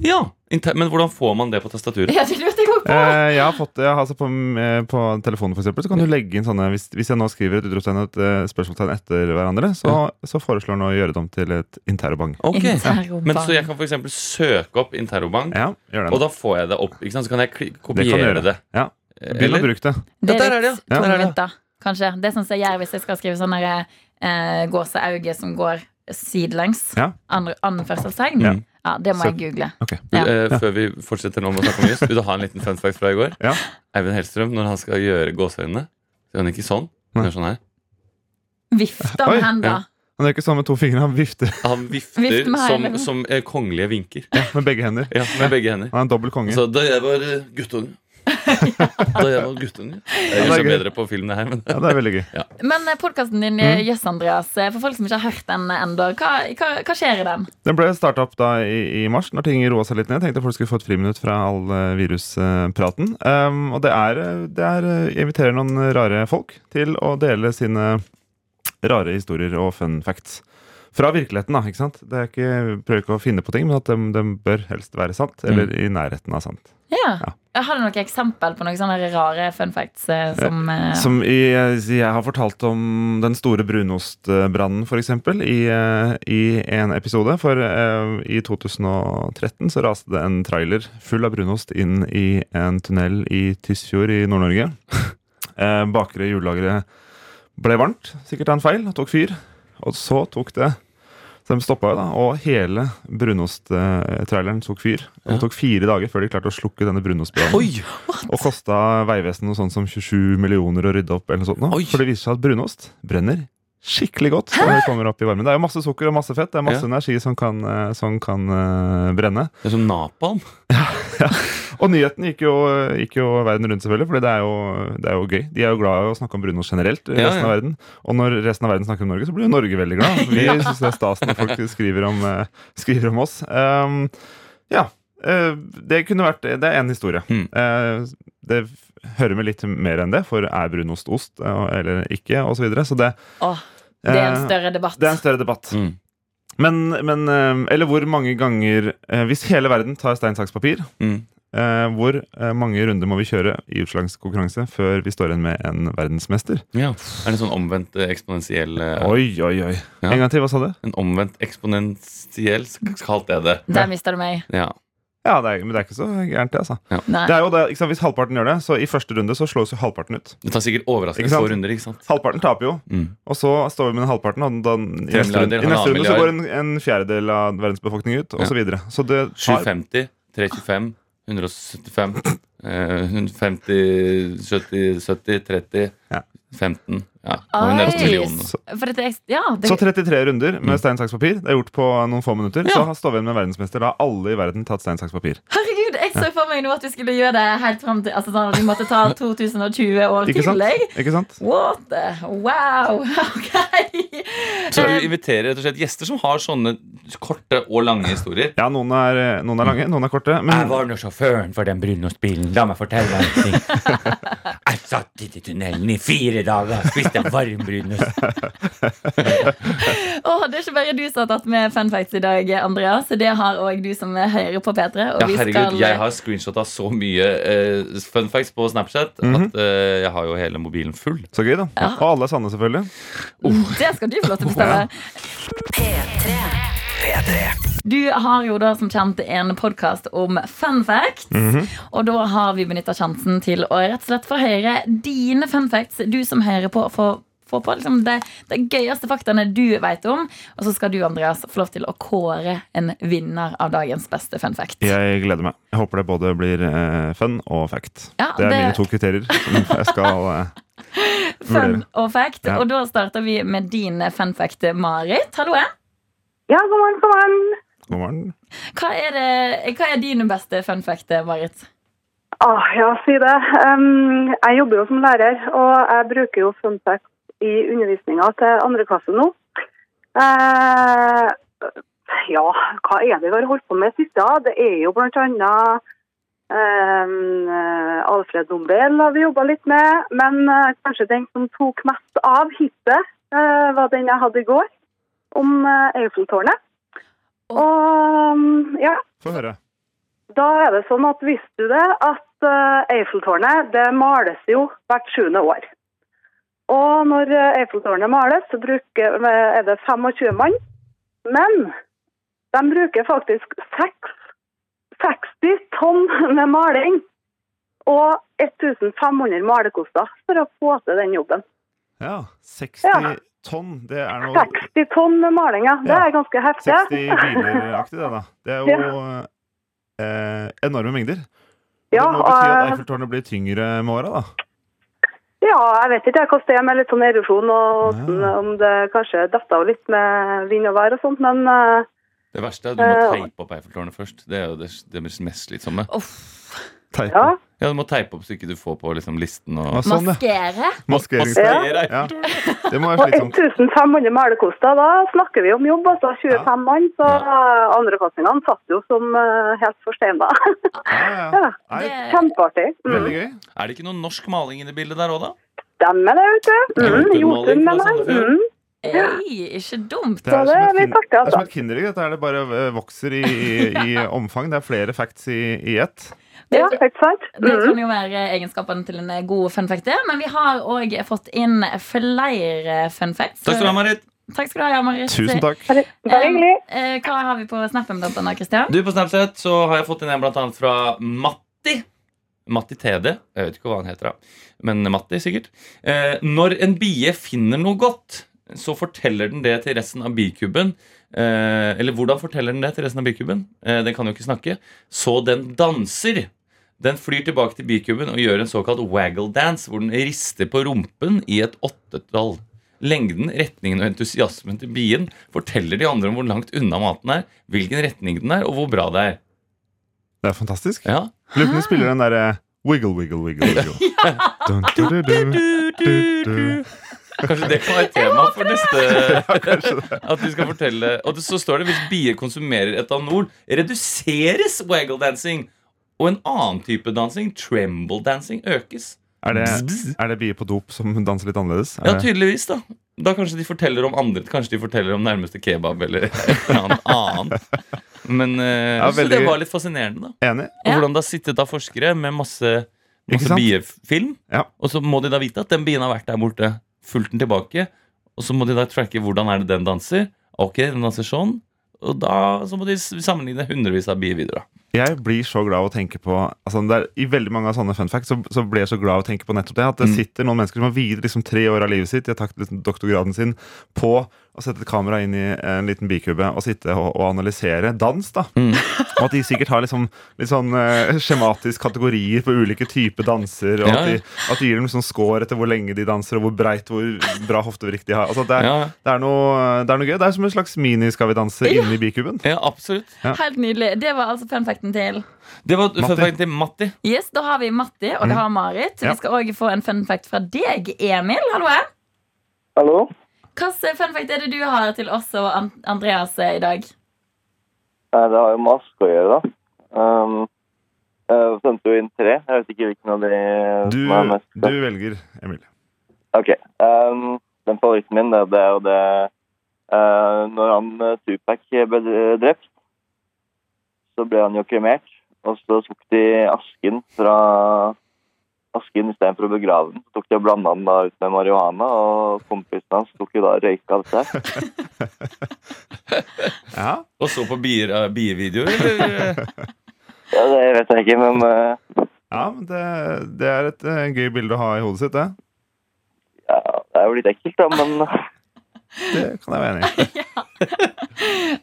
Speaker 6: Ja.
Speaker 2: Inter men hvordan får man det på tastaturet?
Speaker 3: Ja, det lurte jeg òg på.
Speaker 6: Eh, jeg har fått det, altså på, eh, på telefonen for eksempel, så kan du legge inn sånne Hvis, hvis jeg nå skriver et utropstegn og et eh, spørsmålstegn etter hverandre, så, så foreslår han å gjøre det om til et interrobang.
Speaker 2: Ok.
Speaker 3: Interrobang.
Speaker 2: Men Så jeg kan for eksempel søke opp interrobank,
Speaker 6: Ja, gjør det.
Speaker 2: og da får jeg det opp. Ikke sant? Så kan jeg kli-
Speaker 6: det kan du
Speaker 2: kopiere
Speaker 6: gjøre.
Speaker 2: det.
Speaker 6: Ja.
Speaker 2: Eh,
Speaker 6: Begynn å
Speaker 2: eller?
Speaker 6: bruke det.
Speaker 3: Det
Speaker 2: Ja, der
Speaker 3: er
Speaker 2: er det,
Speaker 3: litt
Speaker 2: ja. Der er det.
Speaker 3: tungvint, da. Kanskje. Det er sånn som jeg gjør hvis jeg skal skrive sånn der, eh, gåseauge som går sidelengs.
Speaker 6: Ja.
Speaker 3: Andre, anførselstegn.
Speaker 6: Ja.
Speaker 3: Ja. det må
Speaker 6: Så-
Speaker 3: jeg google.
Speaker 6: Ok.
Speaker 3: Ja.
Speaker 2: Eh, Før vi fortsetter nå med å snakke om jus, vil du ha en liten fun fact fra i går?
Speaker 6: Ja.
Speaker 2: Eivind Hellstrøm, når han skal gjøre gåseøynene, så gjør han ikke sånn. Han
Speaker 6: Nei.
Speaker 2: gjør sånn her.
Speaker 3: Vifte
Speaker 6: Oi,
Speaker 3: med hendene.
Speaker 6: Han gjør ikke sånn med to fingre, han vifter
Speaker 2: Han vifter
Speaker 3: Vift med
Speaker 2: som,
Speaker 3: hendene.
Speaker 2: som eh, kongelige vinker.
Speaker 6: med begge hender.
Speaker 2: Ja, med begge hender.
Speaker 6: Han er en dobbel konge.
Speaker 2: Så da jeg var eh, guttunge Da jeg var guttunge Jeg gjør
Speaker 6: Ja, det er
Speaker 2: så
Speaker 6: gøy.
Speaker 2: bedre på filmene her, men
Speaker 6: Ja, det er veldig gøy.
Speaker 3: Men podkasten din,
Speaker 6: Mm.
Speaker 3: eh, Jøss, Andreas, eh, for folk som ikke har hørt den ennå, hva, hva, hva skjer i den?
Speaker 6: Den ble starta opp da i, i mars, når ting roa seg litt ned. Jeg tenkte folk skulle få et friminutt fra all eh, viruspraten. Um, og det er, eh, det er eh, Jeg inviterer noen rare folk til å dele sine rare historier og fun facts. Fra virkeligheten, da. ikke sant? Det er ikke, vi prøver ikke å finne på ting, men at de, de bør helst være
Speaker 2: Mm.
Speaker 6: sant. Eller i nærheten av sant.
Speaker 3: Ja.
Speaker 6: Ja.
Speaker 3: Eh, Har du noe eksempel på noen sånne rare fun facts eh, som eh,
Speaker 6: Som i, jeg har fortalt om den store brunostbrannen, f.eks., i, eh, i en episode. For eh, i 2013 så raste det en trailer full av brunost inn i en tunnel i Tysfjord i Nord-Norge. Eh, Bakre hjullageret ble varmt, sikkert av en feil, og tok fyr. Og så tok det Så de stoppa jo, da. Og hele brunosttraileren tok fyr. Og det tok fire dager før de klarte å slukke denne brunostbrannen. Og kosta Vegvesenet noe sånt som 27 millioner å rydde opp. eller noe sånt nå.
Speaker 2: Oi.
Speaker 6: For det viser seg at brunost brenner skikkelig godt. når Det kommer opp i varmen. Det er jo masse sukker og masse fett. Det er masse
Speaker 2: Ja.
Speaker 6: energi som kan, eh, som kan eh, brenne.
Speaker 2: Det er som napalm.
Speaker 6: Og nyheten gikk jo, gikk jo verden rundt, selvfølgelig, Fordi det er, jo, det er jo gøy. De er jo glad i å snakke om brunost generelt. i
Speaker 2: Ja,
Speaker 6: resten av
Speaker 2: ja.
Speaker 6: verden. Og når resten av verden snakker om Norge, så blir jo Norge veldig glad. Vi syns det er stas når folk skriver om, eh, skriver om oss. Um, ja. eh, det kunne vært Det er én historie.
Speaker 2: Mm.
Speaker 6: Eh, det f- hører med litt mer enn det, for er brunost ost eh, eller ikke, osv. Så, videre. så det,
Speaker 3: Å, det er en
Speaker 6: eh,
Speaker 3: større debatt.
Speaker 6: det er en større debatt.
Speaker 2: Mm.
Speaker 6: Men, men eh, Eller hvor mange ganger eh, Hvis hele verden tar stein, saks, papir,
Speaker 2: Mm.
Speaker 6: eh, hvor eh, mange runder må vi kjøre i utslagskonkurranse før vi står igjen med en verdensmester?
Speaker 2: Ja. Er det en sånn omvendt eh, eksponentiell eh,
Speaker 6: Oi, oi, oi.
Speaker 2: Ja.
Speaker 6: En gang til, hva sa du?
Speaker 2: En omvendt eksponentiell, sk- kalte jeg det.
Speaker 3: Der mista du meg.
Speaker 2: Ja.
Speaker 6: Ja, det er, Men det er ikke så gærent, det, altså.
Speaker 3: Nei.
Speaker 6: Det er jo det, ikke sant? Hvis halvparten gjør det, så i første runde så slås jo halvparten ut.
Speaker 2: Det tar sikkert
Speaker 6: Ikke
Speaker 2: overraskende
Speaker 6: sant?
Speaker 2: få runder, ikke sant?
Speaker 6: Halvparten taper jo,
Speaker 2: Mm.
Speaker 6: og så står vi med den halvparten. Og den, den, i, neste
Speaker 2: Milliarder,
Speaker 6: runde, I neste
Speaker 2: halvannen
Speaker 6: runde så går en,
Speaker 2: milliard.
Speaker 6: en fjerdedel av verdens befolkning ut,
Speaker 2: Ja.
Speaker 6: osv. Så, videre. så det tar
Speaker 2: 750, 325, 175, eh, hun 50, 70, 70 30,
Speaker 6: Ja.
Speaker 2: 15. Ja, nå er vi nede på millionene.
Speaker 6: Så-
Speaker 3: For dette er, ja, det,
Speaker 6: Så 33 runder med stein, saks, papir. Det er gjort på noen få minutter.
Speaker 2: Ja.
Speaker 6: Så står vi igjen med verdensmester. Da har alle i verden tatt stein, saks, papir.
Speaker 3: herregud, jeg så for meg nå at vi skulle gjøre det helt fram til altså, sånn, at Vi måtte ta 2020 år
Speaker 6: Ikke sant?
Speaker 3: til. Jeg.
Speaker 6: Ikke sant?
Speaker 3: What the Wow! Ok!
Speaker 2: Så vi inviterer rett og slett gjester som har sånne korte og lange historier.
Speaker 6: Ja, noen er, noen er lange, noen er korte. Men
Speaker 10: var nå sjåføren for den brunosbilen. La meg fortelle deg en ting. Jeg satt i tunnelen i fire dager og spiste varm brunost.
Speaker 3: Åh, det er ikke bare du som har tatt med fun facts i dag, Andreas. Det har òg du som hører på P3. Og
Speaker 2: Ja,
Speaker 3: vi
Speaker 2: herregud,
Speaker 3: skal
Speaker 2: Jeg har screenshotta så mye eh, fun facts på Snapchat at eh, jeg har jo hele mobilen full.
Speaker 6: så gøy, da. Og alle er sanne, selvfølgelig.
Speaker 3: Det skal du få lov til å bestemme. Du har jo da som kjent en podkast om fun facts. Og da har vi benytta sjansen til å rett og slett få høre dine fun facts. Du som hører på, få, få på liksom de, de gøyeste faktaene du veit om. Og så skal du, Andreas, få lov til å kåre en vinner av dagens beste fun fact.
Speaker 6: Jeg gleder meg. Jeg håper det både blir eh, fun og fact.
Speaker 3: Ja,
Speaker 6: det er
Speaker 3: det-
Speaker 6: mine to kriterier. som Jeg skal eh,
Speaker 3: Fun og fact.
Speaker 6: Ja.
Speaker 3: Og da starter vi med din fun fact, Marit. Hallo.
Speaker 11: Ja, god morgen, god morgen.
Speaker 6: God morgen.
Speaker 3: Hva er, det, hva er din beste fun fact, Marit?
Speaker 11: Åh, Ah, ja, si det. Ehm, jeg jobber jo som lærer, og jeg bruker jo funfact i undervisninga til andre klasse nå. Eh, ja, hva er det vi har holdt på med sist? da? Det er jo blant annet ehm, Alfred Nobel har vi jobba litt med, men eh, kanskje den som tok mest av hittil, eh, var den jeg hadde i går, om eh, Eiffeltårnet. Og mm, ja,
Speaker 6: Få høre.
Speaker 11: da er det sånn at visste du det, at eh, Eiffeltårnet det males jo hvert sjuende år. Og når eh, Eiffeltårnet males, så bruker, eh, er det 25 mann. Men de bruker faktisk seks- 60 tonn med maling og 1500 malerkoster for å få til den jobben.
Speaker 6: Ja, 60
Speaker 11: Ja.
Speaker 6: tonn. Det er noe
Speaker 11: 60 tonn med maling, ja. Det
Speaker 6: Ja.
Speaker 11: er ganske heftig.
Speaker 6: 60 bileraktig, det, da. Det er jo eh, enorme mengder.
Speaker 11: Ja, eh,
Speaker 6: det må bety at
Speaker 11: og-
Speaker 6: Eiffeltårnet blir tyngre med åra, da.
Speaker 11: Ja, jeg vet ikke jeg, hvordan det er med litt sånn erosjon og sånn,
Speaker 6: Ja.
Speaker 11: om det kanskje detter av litt med vind og vær og sånt, men eh,
Speaker 2: Det verste er at du må teipe opp Eiffeltårnet først. Det er jo det, det mest slitsomme.
Speaker 6: Teip.
Speaker 11: ja.
Speaker 2: Ja, Du må teipe opp så ikke du får på liksom, listen.
Speaker 6: Ja,
Speaker 2: Og,
Speaker 6: sånn, ja.
Speaker 3: Maskere?
Speaker 6: Maskering.
Speaker 2: Maskere
Speaker 6: Ja. Det må være
Speaker 11: Og
Speaker 6: slitsomt.
Speaker 11: 1500 malerkoster, da snakker vi om jobb, altså
Speaker 6: sånn-
Speaker 11: 25
Speaker 6: Ja.
Speaker 11: mann, så eh, andreklassingene satt jo som eh, helt forsteina.
Speaker 6: Ja, ja. Nei,
Speaker 3: Det,
Speaker 11: Kjempeartig. Mm.
Speaker 6: veldig gøy.
Speaker 2: er det ikke noe norsk maling i det bildet der òg, da?
Speaker 11: Dem er det, vet du.
Speaker 2: Jotunmaling
Speaker 11: Mm. Jotun,
Speaker 2: fra
Speaker 11: mener jeg.
Speaker 2: Sandefjord.
Speaker 11: Mm.
Speaker 3: ei, ikke dumt.
Speaker 6: Det er,
Speaker 11: det
Speaker 6: som
Speaker 11: er
Speaker 6: et,
Speaker 11: vi
Speaker 6: kin-
Speaker 11: takker,
Speaker 6: det er som
Speaker 11: altså.
Speaker 6: et kinderegg. Dette er det bare eh, vokser i, i, i omfang. Det er flere facts i, i ett.
Speaker 11: Ja, ikke sant?
Speaker 3: Det
Speaker 11: Mm.
Speaker 3: kan jo være egenskapene til en eh, god fun fact, det. Men vi har òg fått inn flere fun facts.
Speaker 2: Takk skal du ha, Marit.
Speaker 3: Takk skal du ha, ja, Marit.
Speaker 6: Tusen takk.
Speaker 11: Bare bare hyggelig.
Speaker 3: Eh, eh, Hva har vi på snappen, blant annet, Kristian?
Speaker 2: Du, På Snapchat så har jeg fått inn en blant annet fra Matti. Matti TD. Jeg vet ikke hva han heter, da. men Matti, sikkert. Eh, når en bie finner noe godt, så forteller den det til resten av bikuben. Eh, eller hvordan forteller den det til resten av bikuben? Eh, den kan jo ikke snakke. Så den danser. Den flyr tilbake til bikuben og gjør en såkalt waggle dance, hvor den rister på rumpen i et åttetall. Lengden, retningen og entusiasmen til bien forteller de andre om hvor langt unna maten er, hvilken retning den er, og hvor bra det er.
Speaker 6: Det er fantastisk.
Speaker 2: Ja.
Speaker 6: Lurer på om de spiller den derre wiggle, wiggle, wiggle. wiggle. Dun, du, du, du. du.
Speaker 2: Kanskje det kan være tema for neste
Speaker 6: Kanskje det.
Speaker 2: At vi skal fortelle Og det- så står det hvis bier konsumerer etanol, reduseres waggle dancing, og en annen type dansing, tremble dancing, økes.
Speaker 6: Er det, er det bier på dop som danser litt annerledes? Er
Speaker 2: Ja,
Speaker 6: det-
Speaker 2: tydeligvis, da. Da kanskje de forteller om andre Kanskje de forteller om nærmeste kebab eller et eller annet annet. Men eh,
Speaker 6: Ja,
Speaker 2: Så det
Speaker 6: veldig-
Speaker 2: var litt fascinerende, da.
Speaker 6: Enig?
Speaker 2: Og
Speaker 3: Ja.
Speaker 2: hvordan det har sittet av forskere med masse,
Speaker 6: Ikke
Speaker 2: masse
Speaker 6: sant?
Speaker 2: biefilm.
Speaker 6: Ja.
Speaker 2: Og så må de da vite at den bien har vært der borte. Fulgt den tilbake. Og så må de da tracke hvordan er det den danser. Ok, den danser sånn. Og da så må de s- sammenligne hundrevis av bievideoer. da.
Speaker 6: Jeg blir så glad av å tenke på altså det er, I veldig mange av sånne fun facts så, så blir jeg så glad av å tenke på nettopp det. At det
Speaker 12: Mm.
Speaker 6: sitter noen mennesker som har viet liksom, tre år av livet sitt, de har tatt liksom, doktorgraden sin, på å sette et kamera inn i en liten bikube og sitte og, og analysere dans. da
Speaker 2: Mm.
Speaker 6: Og at de sikkert har liksom, litt sånn eh, skjematisk kategorier på ulike typer danser. Og
Speaker 2: Ja,
Speaker 6: at,
Speaker 2: ja.
Speaker 6: de, at de gir dem liksom score etter hvor lenge de danser, og hvor breit, hvor bra hoftevrikk de har. Altså, det, er,
Speaker 2: Ja, ja.
Speaker 6: Det, er noe, det er noe gøy. Det er som en slags mini-Skal vi danse
Speaker 3: Ja.
Speaker 6: inni bikuben.
Speaker 2: Ja, absolutt
Speaker 3: Helt nydelig. Det var altså fun facten til
Speaker 2: Det var
Speaker 6: Matti.
Speaker 2: fun fact til Matti.
Speaker 3: Yes, Da har vi Matti, og det har Marit.
Speaker 2: Ja.
Speaker 3: Vi skal òg få en fun fact fra deg, Emil. Hallo.
Speaker 13: Hallo?
Speaker 3: Hvilken fun fact er det du har til oss og An- Andreas eh, i dag?
Speaker 13: Nei, det har jo med aske å gjøre, da. Um, jeg Eh, sendte jo inn tre. Jeg vet ikke hvilken av de
Speaker 6: Du,
Speaker 13: som er mest.
Speaker 6: du velger, Emil.
Speaker 13: Ok. Um, den favoritten min, det, det er jo det eh, Når han eh, Tupac ble drept, så ble han jo kremert. Og så tok de asken fra asken istedenfor å begrave den. Så tok de og blanda den da ut med marihuana, og kompisen hans tok jo da og røyka av seg.
Speaker 2: Og så på bier, eh, bievideoer, eller?
Speaker 13: Ja, det vet jeg ikke, men eh,
Speaker 6: Ja, men det, det er et eh, gøy bilde å ha i hodet sitt, det.
Speaker 13: det er jo litt ekkelt, da. Men
Speaker 6: Det kan jeg være enig i.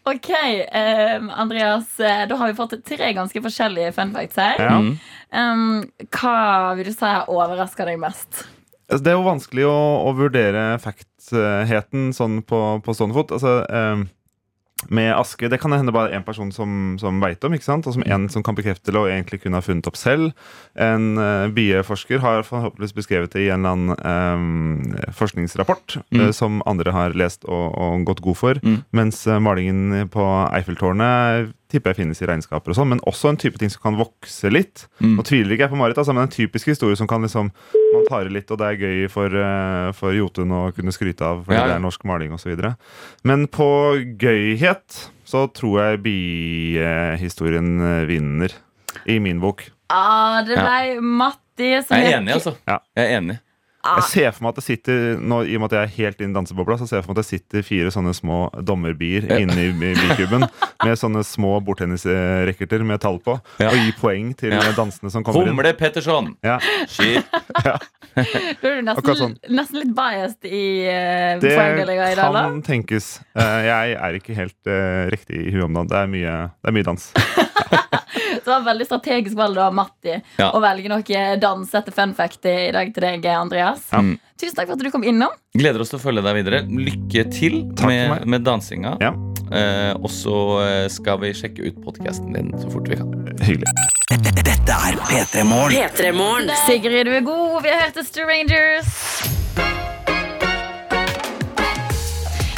Speaker 3: Ok, ehm, Andreas, eh, da har vi fått tre ganske forskjellige fun facts her.
Speaker 6: Ja. Mm.
Speaker 3: Ehm, hva vil du si overrasker deg mest?
Speaker 6: Altså, det er jo vanskelig å, å vurdere factheten sånn på, på stående fot. Altså, ehm, med aske Det kan hende bare én person som, som veit om, ikke sant? og som en som kan bekrefte det og egentlig kunne ha funnet opp selv. En eh, bieforsker har forhåpentligvis beskrevet det i en eller annen ehm, forskningsrapport
Speaker 12: Mm.
Speaker 6: eh, som andre har lest og, og gått god for.
Speaker 2: Mm.
Speaker 6: Mens eh, malingen på Eiffeltårnet tipper jeg finnes i regnskaper og sånn, men også en type ting som kan vokse litt.
Speaker 2: Mm.
Speaker 6: Nå tviler ikke jeg på Marit, altså, men en typisk historie som kan liksom man tar i litt, og det er gøy for, eh, for Jotun å kunne skryte av, fordi
Speaker 2: Ja, ja.
Speaker 6: det er norsk maling osv. Men på gøyhet så tror jeg biehistorien eh, vinner, i min bok.
Speaker 3: Ah, det ble Matti som gikk-
Speaker 6: Ja.
Speaker 2: altså. Jeg er enig.
Speaker 3: Ah.
Speaker 6: Jeg ser for meg at det sitter nå, I og med at jeg er helt inn i dansebobla, så ser jeg for meg at det sitter fire sånne små dommerbier inne i bi- bikuben med sånne små bordtennisracketer med tall på, og gir poeng til
Speaker 2: Ja.
Speaker 6: dansene som kommer inn.
Speaker 2: Humle Petterson!
Speaker 6: Ja.
Speaker 3: Da er du
Speaker 6: Akkurat
Speaker 3: nesten,
Speaker 6: sånn.
Speaker 3: nesten litt biased i uh,
Speaker 6: Det
Speaker 3: poengdelinga i dag, da.
Speaker 6: kan tenkes. Eh, Jeg er ikke helt eh, riktig i huet om dagen. Det er mye, det er mye dans.
Speaker 3: Det var et veldig strategisk valg av Matti
Speaker 6: Ja.
Speaker 3: å velge noe dans etter fun fact i dag til deg, Andreas.
Speaker 2: Ja. Mm.
Speaker 3: Tusen takk for at du kom innom.
Speaker 2: Gleder oss til å følge deg videre. Lykke til med, med dansinga. Eh, og så eh, skal vi sjekke ut podkasten din så fort vi kan.
Speaker 6: Hyggelig.
Speaker 11: Dette er P3 Morgen.
Speaker 3: Sigrid, du er god. Vi har hørt The Strangers.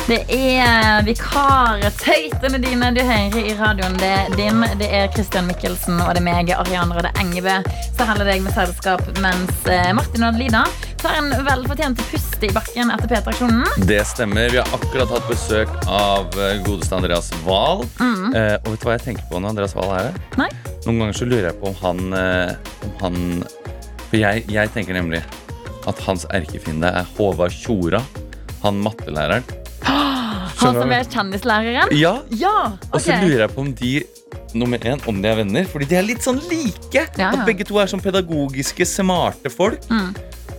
Speaker 3: Det er vikartøytene dine du hører i radioen. Det er din, det er Christian Mikkelsen og det er meg, Ariane Røde Engebø, som holder deg med selskap, mens eh, Martin og Adelina tar en velfortjent pust i bakken etter P-traksjonen.
Speaker 2: Det stemmer. Vi har akkurat hatt besøk av eh, godeste Andreas Wahl.
Speaker 3: Mhm.
Speaker 2: Eh, og vet du hva jeg tenker på når Andreas Wahl er her?
Speaker 3: Nei.
Speaker 2: Noen ganger så lurer jeg på om han, eh, om han For jeg, jeg tenker nemlig at hans erkefiende er Håvard Tjora, han mattelæreren.
Speaker 3: Han som er kjendislæreren?
Speaker 2: Ja. Altså, Og så
Speaker 3: ok.
Speaker 2: lurer jeg på om de nummer en, om de er venner, fordi de er litt sånn like.
Speaker 3: Ja, ja.
Speaker 2: At begge to er sånn pedagogiske, smarte folk.
Speaker 3: Mm.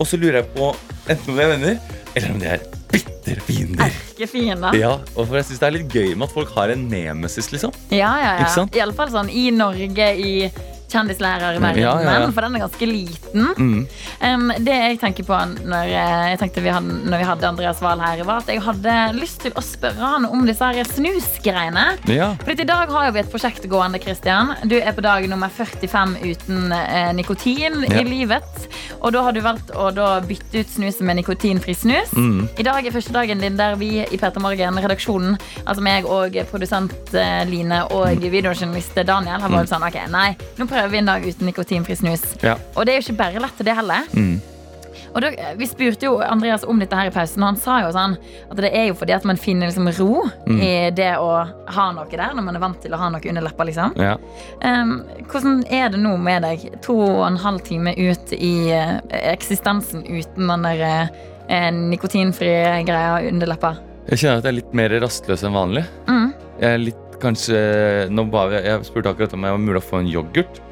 Speaker 2: Og så lurer jeg på enten om de er venner, eller om de er bitre fiender.
Speaker 3: Ikke fiender.
Speaker 2: Ja, og for jeg synes Det er litt gøy med at folk har en nemesis, liksom.
Speaker 3: Ja, ja,
Speaker 2: Ikke
Speaker 3: ja.
Speaker 2: sant?
Speaker 3: I alle fall sånn i Norge, i kjendislærerverdenen,
Speaker 2: Ja, ja, Mm. ja.
Speaker 3: for den er ganske liten. Um, det jeg tenker på når, eh, jeg tenkte vi hadde, når vi hadde Andreas Wahl her, var at jeg hadde lyst til å spørre han om disse her snusgreiene.
Speaker 2: Ja.
Speaker 3: For i dag har jo vi et prosjekt gående, Christian. Du er på dag nummer 45 uten eh, nikotin
Speaker 2: Ja.
Speaker 3: i livet. Og da har du valgt å da bytte ut snuset med nikotinfri snus.
Speaker 2: Mm.
Speaker 3: I dag er første dagen din der vi i Peter Morgen, redaksjonen, altså meg og produsent eh, Line og videojournalist Daniel, har vært
Speaker 2: Mm.
Speaker 3: sånn OK, nei, nå prøver vi en dag uten nikotinfri snus.
Speaker 2: Ja.
Speaker 3: Og det er jo ikke bare lett, det heller.
Speaker 2: Mm.
Speaker 3: Og da, vi spurte jo Andreas om dette her i pausen, og han sa jo sånn at det er jo fordi at man finner liksom ro
Speaker 2: Mm.
Speaker 3: i det å ha noe der, når man er vant til å ha noe under leppa, liksom.
Speaker 2: Ja.
Speaker 3: Ehm, hvordan er det nå med deg, to og en halv time ut i eh, eksistensen uten den der eh, nikotinfrie greia under leppa?
Speaker 2: Jeg kjenner at jeg er litt mer rastløs enn vanlig.
Speaker 3: Mm.
Speaker 2: Jeg er litt Kanskje nå bare, Jeg spurte akkurat om jeg var mulig å få en yoghurt.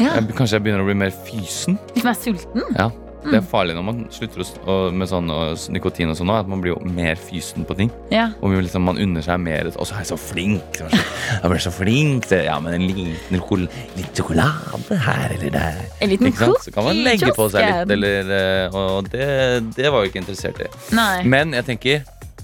Speaker 3: Ja.
Speaker 2: Jeg, kanskje jeg begynner å bli mer fysen.
Speaker 3: Litt mer sulten?
Speaker 2: Ja, Det er
Speaker 3: Mm.
Speaker 2: farlig når man slutter å, s- å- med sånn og, s- nikotin og sånn nå, at man blir jo mer fysen på ting.
Speaker 3: Ja.
Speaker 2: Og man liksom, man unner seg mer. Og så er jeg så flink! så er Jeg så- jeg ble så flink! til- Ja, men en liten kol litt sjokolade her eller der.
Speaker 3: En liten
Speaker 2: Ikke sant? Så kan man
Speaker 3: Mm, cookie i
Speaker 2: legge på seg
Speaker 3: kiosken.
Speaker 2: litt, eller eh, Og det, det var jeg ikke interessert i.
Speaker 3: Nei.
Speaker 2: Men jeg tenker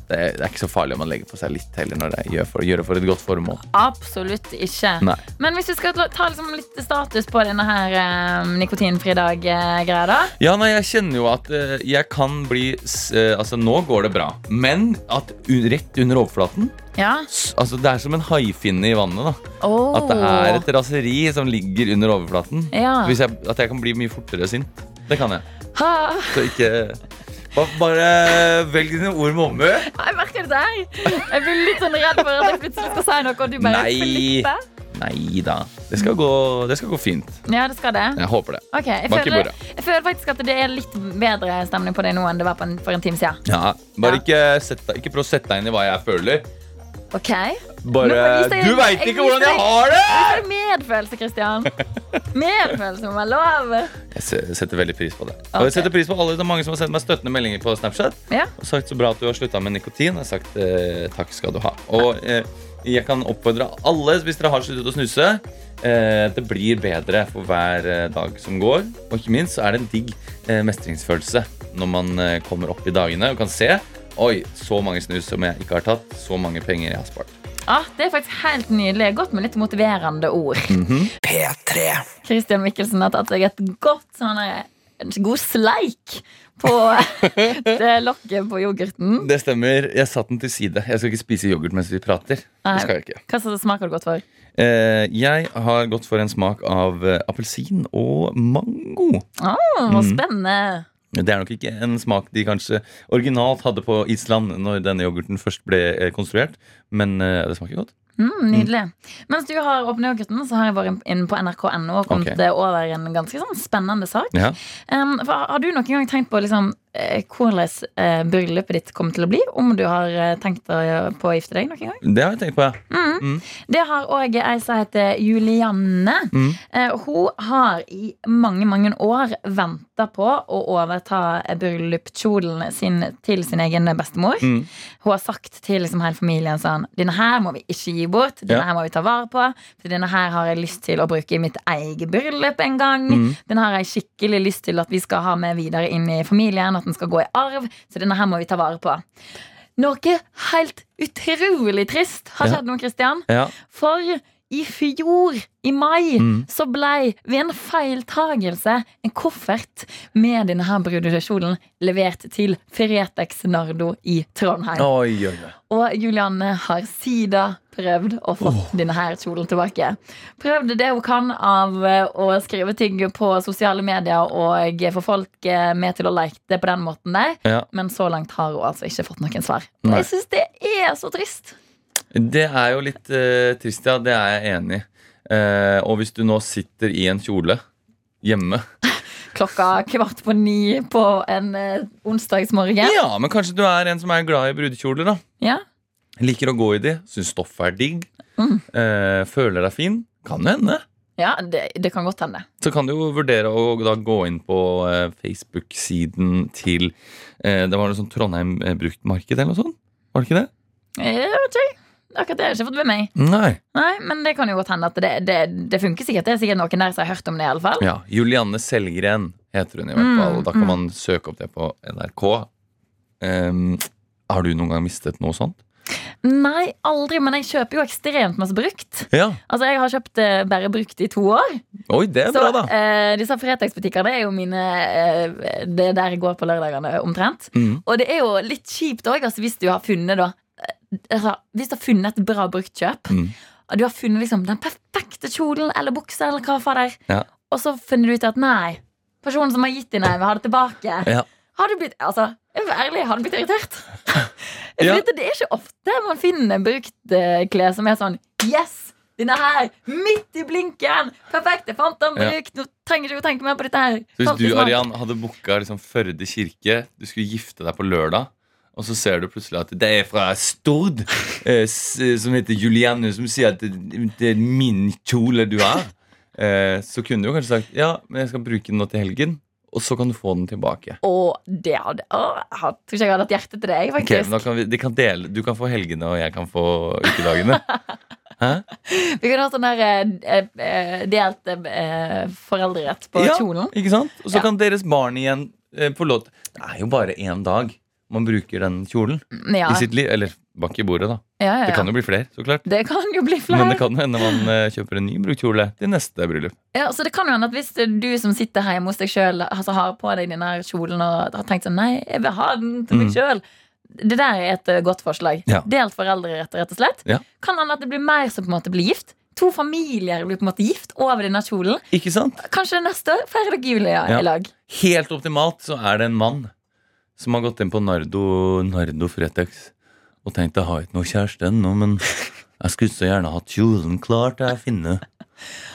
Speaker 2: det er, det er ikke så farlig om man legger på seg litt heller når det gjør for, gjør det for et godt formål.
Speaker 3: Absolutt ikke.
Speaker 2: Nei.
Speaker 3: Men hvis vi skal ta- ta liksom litt status på denne her um, nikotinfri dag-greia, da.
Speaker 2: Ja, nei, jeg kjenner jo at eh, jeg kan bli s- eh, Altså, nå går det bra, men at u- rett under overflaten
Speaker 3: Ja.
Speaker 2: s- Altså, Det er som en haifinne i vannet. da
Speaker 3: Oh.
Speaker 2: At det er et raseri som ligger under overflaten.
Speaker 3: Ja.
Speaker 2: Hvis jeg, at jeg kan bli mye fortere sint. Det kan jeg.
Speaker 3: ha.
Speaker 2: Så ikke Ba- Bare velg dine ord med omhu.
Speaker 3: Jeg merker det der. Jeg blir litt sånn redd for at jeg plutselig skal si noe, og du bare
Speaker 2: Nei.
Speaker 3: Felipe.
Speaker 2: Nei da. Det skal gå, det skal gå fint.
Speaker 3: Ja, det skal det.
Speaker 2: Jeg håper det.
Speaker 3: Ok, jeg
Speaker 2: Bak i
Speaker 3: føler,
Speaker 2: bordet.
Speaker 3: jeg føler faktisk at det er litt bedre stemning på deg nå enn det var på en, for en time siden.
Speaker 2: Ja, bare ikke, sett deg- ikke prøv å sette deg inn i hva jeg føler.
Speaker 3: Ok?
Speaker 2: Bare
Speaker 3: Nå får jeg vise deg-
Speaker 2: Du veit ikke hvordan jeg har det!
Speaker 3: Jeg viser deg medfølelse, Kristian. Medfølelse må være lov.
Speaker 2: Jeg se- setter veldig pris på det.
Speaker 3: Ok.
Speaker 2: Og jeg setter pris på alle, Det er mange som har sendt meg støttende meldinger på Snapchat.
Speaker 3: Ja.
Speaker 2: Og sagt så bra at du har slutta med nikotin. Jeg har sagt eh, takk skal du ha. Og eh, jeg kan oppfordre alle, hvis dere har sluttet å snuse, eh, det blir bedre for hver eh, dag som går. Og ikke minst så er det en digg eh, mestringsfølelse når man eh, kommer opp i dagene og kan se Oi, så mange snus som jeg ikke har tatt. Så mange penger jeg har spart.
Speaker 3: Ah, det er faktisk helt nydelig. Godt med litt motiverende ord.
Speaker 2: Mhm. P3
Speaker 3: Kristian Mikkelsen har tatt seg et godt sånn her- en god sleik på det lokket på yoghurten.
Speaker 2: Det stemmer. Jeg satte den til side. Jeg skal ikke spise yoghurt mens vi prater.
Speaker 3: Nei,
Speaker 2: Det skal jeg ikke.
Speaker 3: Hva slags smaker det godt for?
Speaker 2: Eh, jeg har gått for en smak av eh, appelsin og mango.
Speaker 3: Oh,
Speaker 2: Mhm.
Speaker 3: spennende.
Speaker 2: Det er nok ikke en smak de kanskje originalt hadde på Island når denne yoghurten først ble eh, konstruert, men eh, det smaker godt.
Speaker 3: Mm, nydelig.
Speaker 2: Mhm.
Speaker 3: Mens du har åpnet yoghurten, så har jeg vært inne på nrk.no og kommet
Speaker 2: Ok.
Speaker 3: eh, over en ganske sånn spennende sak.
Speaker 2: Ja.
Speaker 3: Um, for har du noen gang tenkt på liksom, eh, hvordan eh, bryllupet ditt kommer til å bli? Om du har eh, tenkt å, på å gifte deg noen gang?
Speaker 2: Det har jeg tenkt på, ja.
Speaker 3: Mm.
Speaker 2: Mm.
Speaker 3: Det har òg ei som heter Julianne.
Speaker 2: Mm.
Speaker 3: Eh, hun har i mange, mange år venta på å overta eh, bryllupskjolen sin til sin egen bestemor.
Speaker 14: Mm.
Speaker 3: Hun har sagt til liksom hele familien sånn Denne her må vi ikke gi bort. Denne
Speaker 14: Ja.
Speaker 3: her må vi ta vare på. For denne her har jeg lyst til å bruke i mitt eget bryllup en gang.
Speaker 14: Mm.
Speaker 3: Den har jeg skikkelig lyst til at vi skal ha med videre inn i familien. At den skal gå i arv. Så denne her må vi ta vare på. Noe helt utrolig trist har
Speaker 14: Ja.
Speaker 3: skjedd nå, Kristian.
Speaker 14: Ja.
Speaker 3: For i fjor, i mai,
Speaker 14: Mm.
Speaker 3: så blei ved en feiltagelse en koffert med denne her brudekjolen levert til Fretex Nardo i Trondheim.
Speaker 2: Oi, oi, oi.
Speaker 3: Og Julianne har sida prøvd å få denne her kjolen tilbake. Prøvd det hun kan av eh, å skrive ting på sosiale medier og få folk eh, med til å like det på den måten der.
Speaker 2: Ja.
Speaker 3: Men så langt har hun altså ikke fått noen svar. Og
Speaker 2: Nei.
Speaker 3: jeg syns det er så trist.
Speaker 2: Det er jo litt eh, trist, ja. Det er jeg enig i. Eh, og hvis du nå sitter i en kjole hjemme
Speaker 3: Klokka kvart på ni på en eh, onsdagsmorgen.
Speaker 2: Ja, men kanskje du er en som er glad i brudekjoler, da.
Speaker 3: Ja.
Speaker 2: Liker å gå i de. Syns stoffet er digg.
Speaker 3: Mm.
Speaker 2: eh, føler deg fin. Kan jo hende.
Speaker 3: Ja, det, det kan godt hende.
Speaker 2: Så kan du jo vurdere å da gå inn på eh, Facebook-siden til eh, Det var noe sånn Trondheim eh, bruktmarked eller noe sånt? Var det ikke det?
Speaker 3: Eh, Jeg vet ikke. Akkurat det har jeg ikke fått med meg.
Speaker 2: Nei.
Speaker 3: Nei, Men det kan jo godt hende at det, det, det funker sikkert. Det er sikkert noen der som har hørt om det. i alle fall
Speaker 2: Ja, Julianne Selgren heter hun i hvert
Speaker 3: Mm,
Speaker 2: fall. Og da kan
Speaker 3: mm.
Speaker 2: man søke opp det på NRK. Ehm, har du noen gang mistet noe sånt?
Speaker 3: Nei, aldri, men jeg kjøper jo ekstremt masse brukt.
Speaker 2: Ja.
Speaker 3: Altså, Jeg har kjøpt eh, bare brukt i to år.
Speaker 2: Oi, det er
Speaker 3: så
Speaker 2: bra, da.
Speaker 3: eh, disse Fretex-butikkene er jo mine eh, Det er der jeg går på lørdagene, omtrent.
Speaker 2: Mm.
Speaker 3: Og det er jo litt kjipt òg, altså, hvis du har funnet da eh, altså, Hvis du har funnet et bra bruktkjøp,
Speaker 2: Mm.
Speaker 3: og du har funnet liksom den perfekte kjolen eller buksa eller hva fader,
Speaker 2: Ja.
Speaker 3: og så finner du ut at nei, personen som har gitt deg nei, vil ha det tilbake.
Speaker 2: Ja.
Speaker 3: Har du blitt, altså, jeg må være ærlig, har du blitt irritert?
Speaker 2: Ja.
Speaker 3: For dette, det er ikke ofte man finner brukt eh, klær som er sånn Yes! Denne her! Midt i blinken! Perfekt! Jeg fant den
Speaker 2: Ja.
Speaker 3: brukt! Nå trenger ikke å tenke mer på dette her.
Speaker 2: Så
Speaker 3: Falt i
Speaker 2: hvis du
Speaker 3: smak.
Speaker 2: Arian, hadde booka liksom Førde kirke, du skulle gifte deg på lørdag, Og så ser du plutselig at det er fra Stord, eh, s- som heter Julianne, som sier at det, det er min kjole du har. Eh, så kunne du jo kanskje sagt ja, men jeg skal bruke den nå til helgen, og så kan du få den tilbake.
Speaker 3: Og det hadde å, Jeg hadde- tror ikke jeg hadde hatt hjerte til deg,
Speaker 2: Ok, men
Speaker 3: faktisk.
Speaker 2: da kan vi, de kan dele, du kan få helgene, og jeg kan få ukedagene. Hæ?
Speaker 3: Vi kunne hatt sånn der eh, eh, delt eh, foreldrerett på
Speaker 2: Ja,
Speaker 3: kjolen.
Speaker 2: Ikke sant? Og så
Speaker 3: Ja.
Speaker 2: kan deres barn igjen eh, få lov til Det er jo bare én dag man bruker den kjolen
Speaker 3: ja.
Speaker 2: i sitt liv. Eller bak i bordet, da.
Speaker 3: Ja, ja, ja.
Speaker 2: Det kan jo bli flere, så klart.
Speaker 3: Det kan jo bli flere.
Speaker 2: Men det kan jo hende man eh, kjøper en ny brukt kjole til neste bryllup.
Speaker 3: Ja, så det kan jo hende at Hvis du som sitter hjemme hos deg sjøl altså, har på deg denne kjolen og har tenkt sånn Nei, jeg vil ha den til meg
Speaker 2: Mm.
Speaker 3: sjøl. Det der er et eh, godt forslag.
Speaker 2: Ja.
Speaker 3: Delt foreldrerett, rett og slett.
Speaker 2: Ja.
Speaker 3: Kan hende at det blir mer som på en måte blir gift. To familier blir på en måte gift over denne kjolen.
Speaker 2: Ikke sant?
Speaker 3: Kanskje neste år feirer dere jul i-
Speaker 2: Ja.
Speaker 3: i lag.
Speaker 2: Helt optimalt så er det en mann som har gått inn på Nardo, Nardo Fretex og tenkt jeg har ikke noe kjæreste ennå, men jeg skulle så gjerne hatt kjolen klar til jeg finner.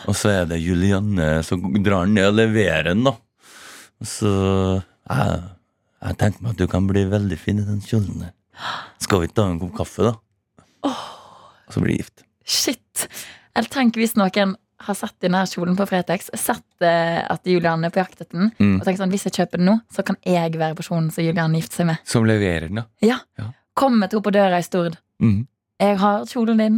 Speaker 2: Og så er det Julianne som drar den ned og leverer den, da. Og Så jeg, jeg tenker meg at du kan bli veldig fin i den kjolen der. Skal vi ikke ta en kopp kaffe, da? Og så blir de gift.
Speaker 3: Shit. Eller tenk hvis noen har sett denne kjolen på Fretex, sett eh, at Julianne er på jakt etter den,
Speaker 2: Mm.
Speaker 3: og tenkt sånn Hvis jeg kjøper den nå, så kan jeg være personen som Julianne gifter seg med.
Speaker 2: Som leverer den, ja.
Speaker 3: Ja. Kommer til henne på døra i Stord.
Speaker 2: Mhm.
Speaker 3: Jeg har kjolen din,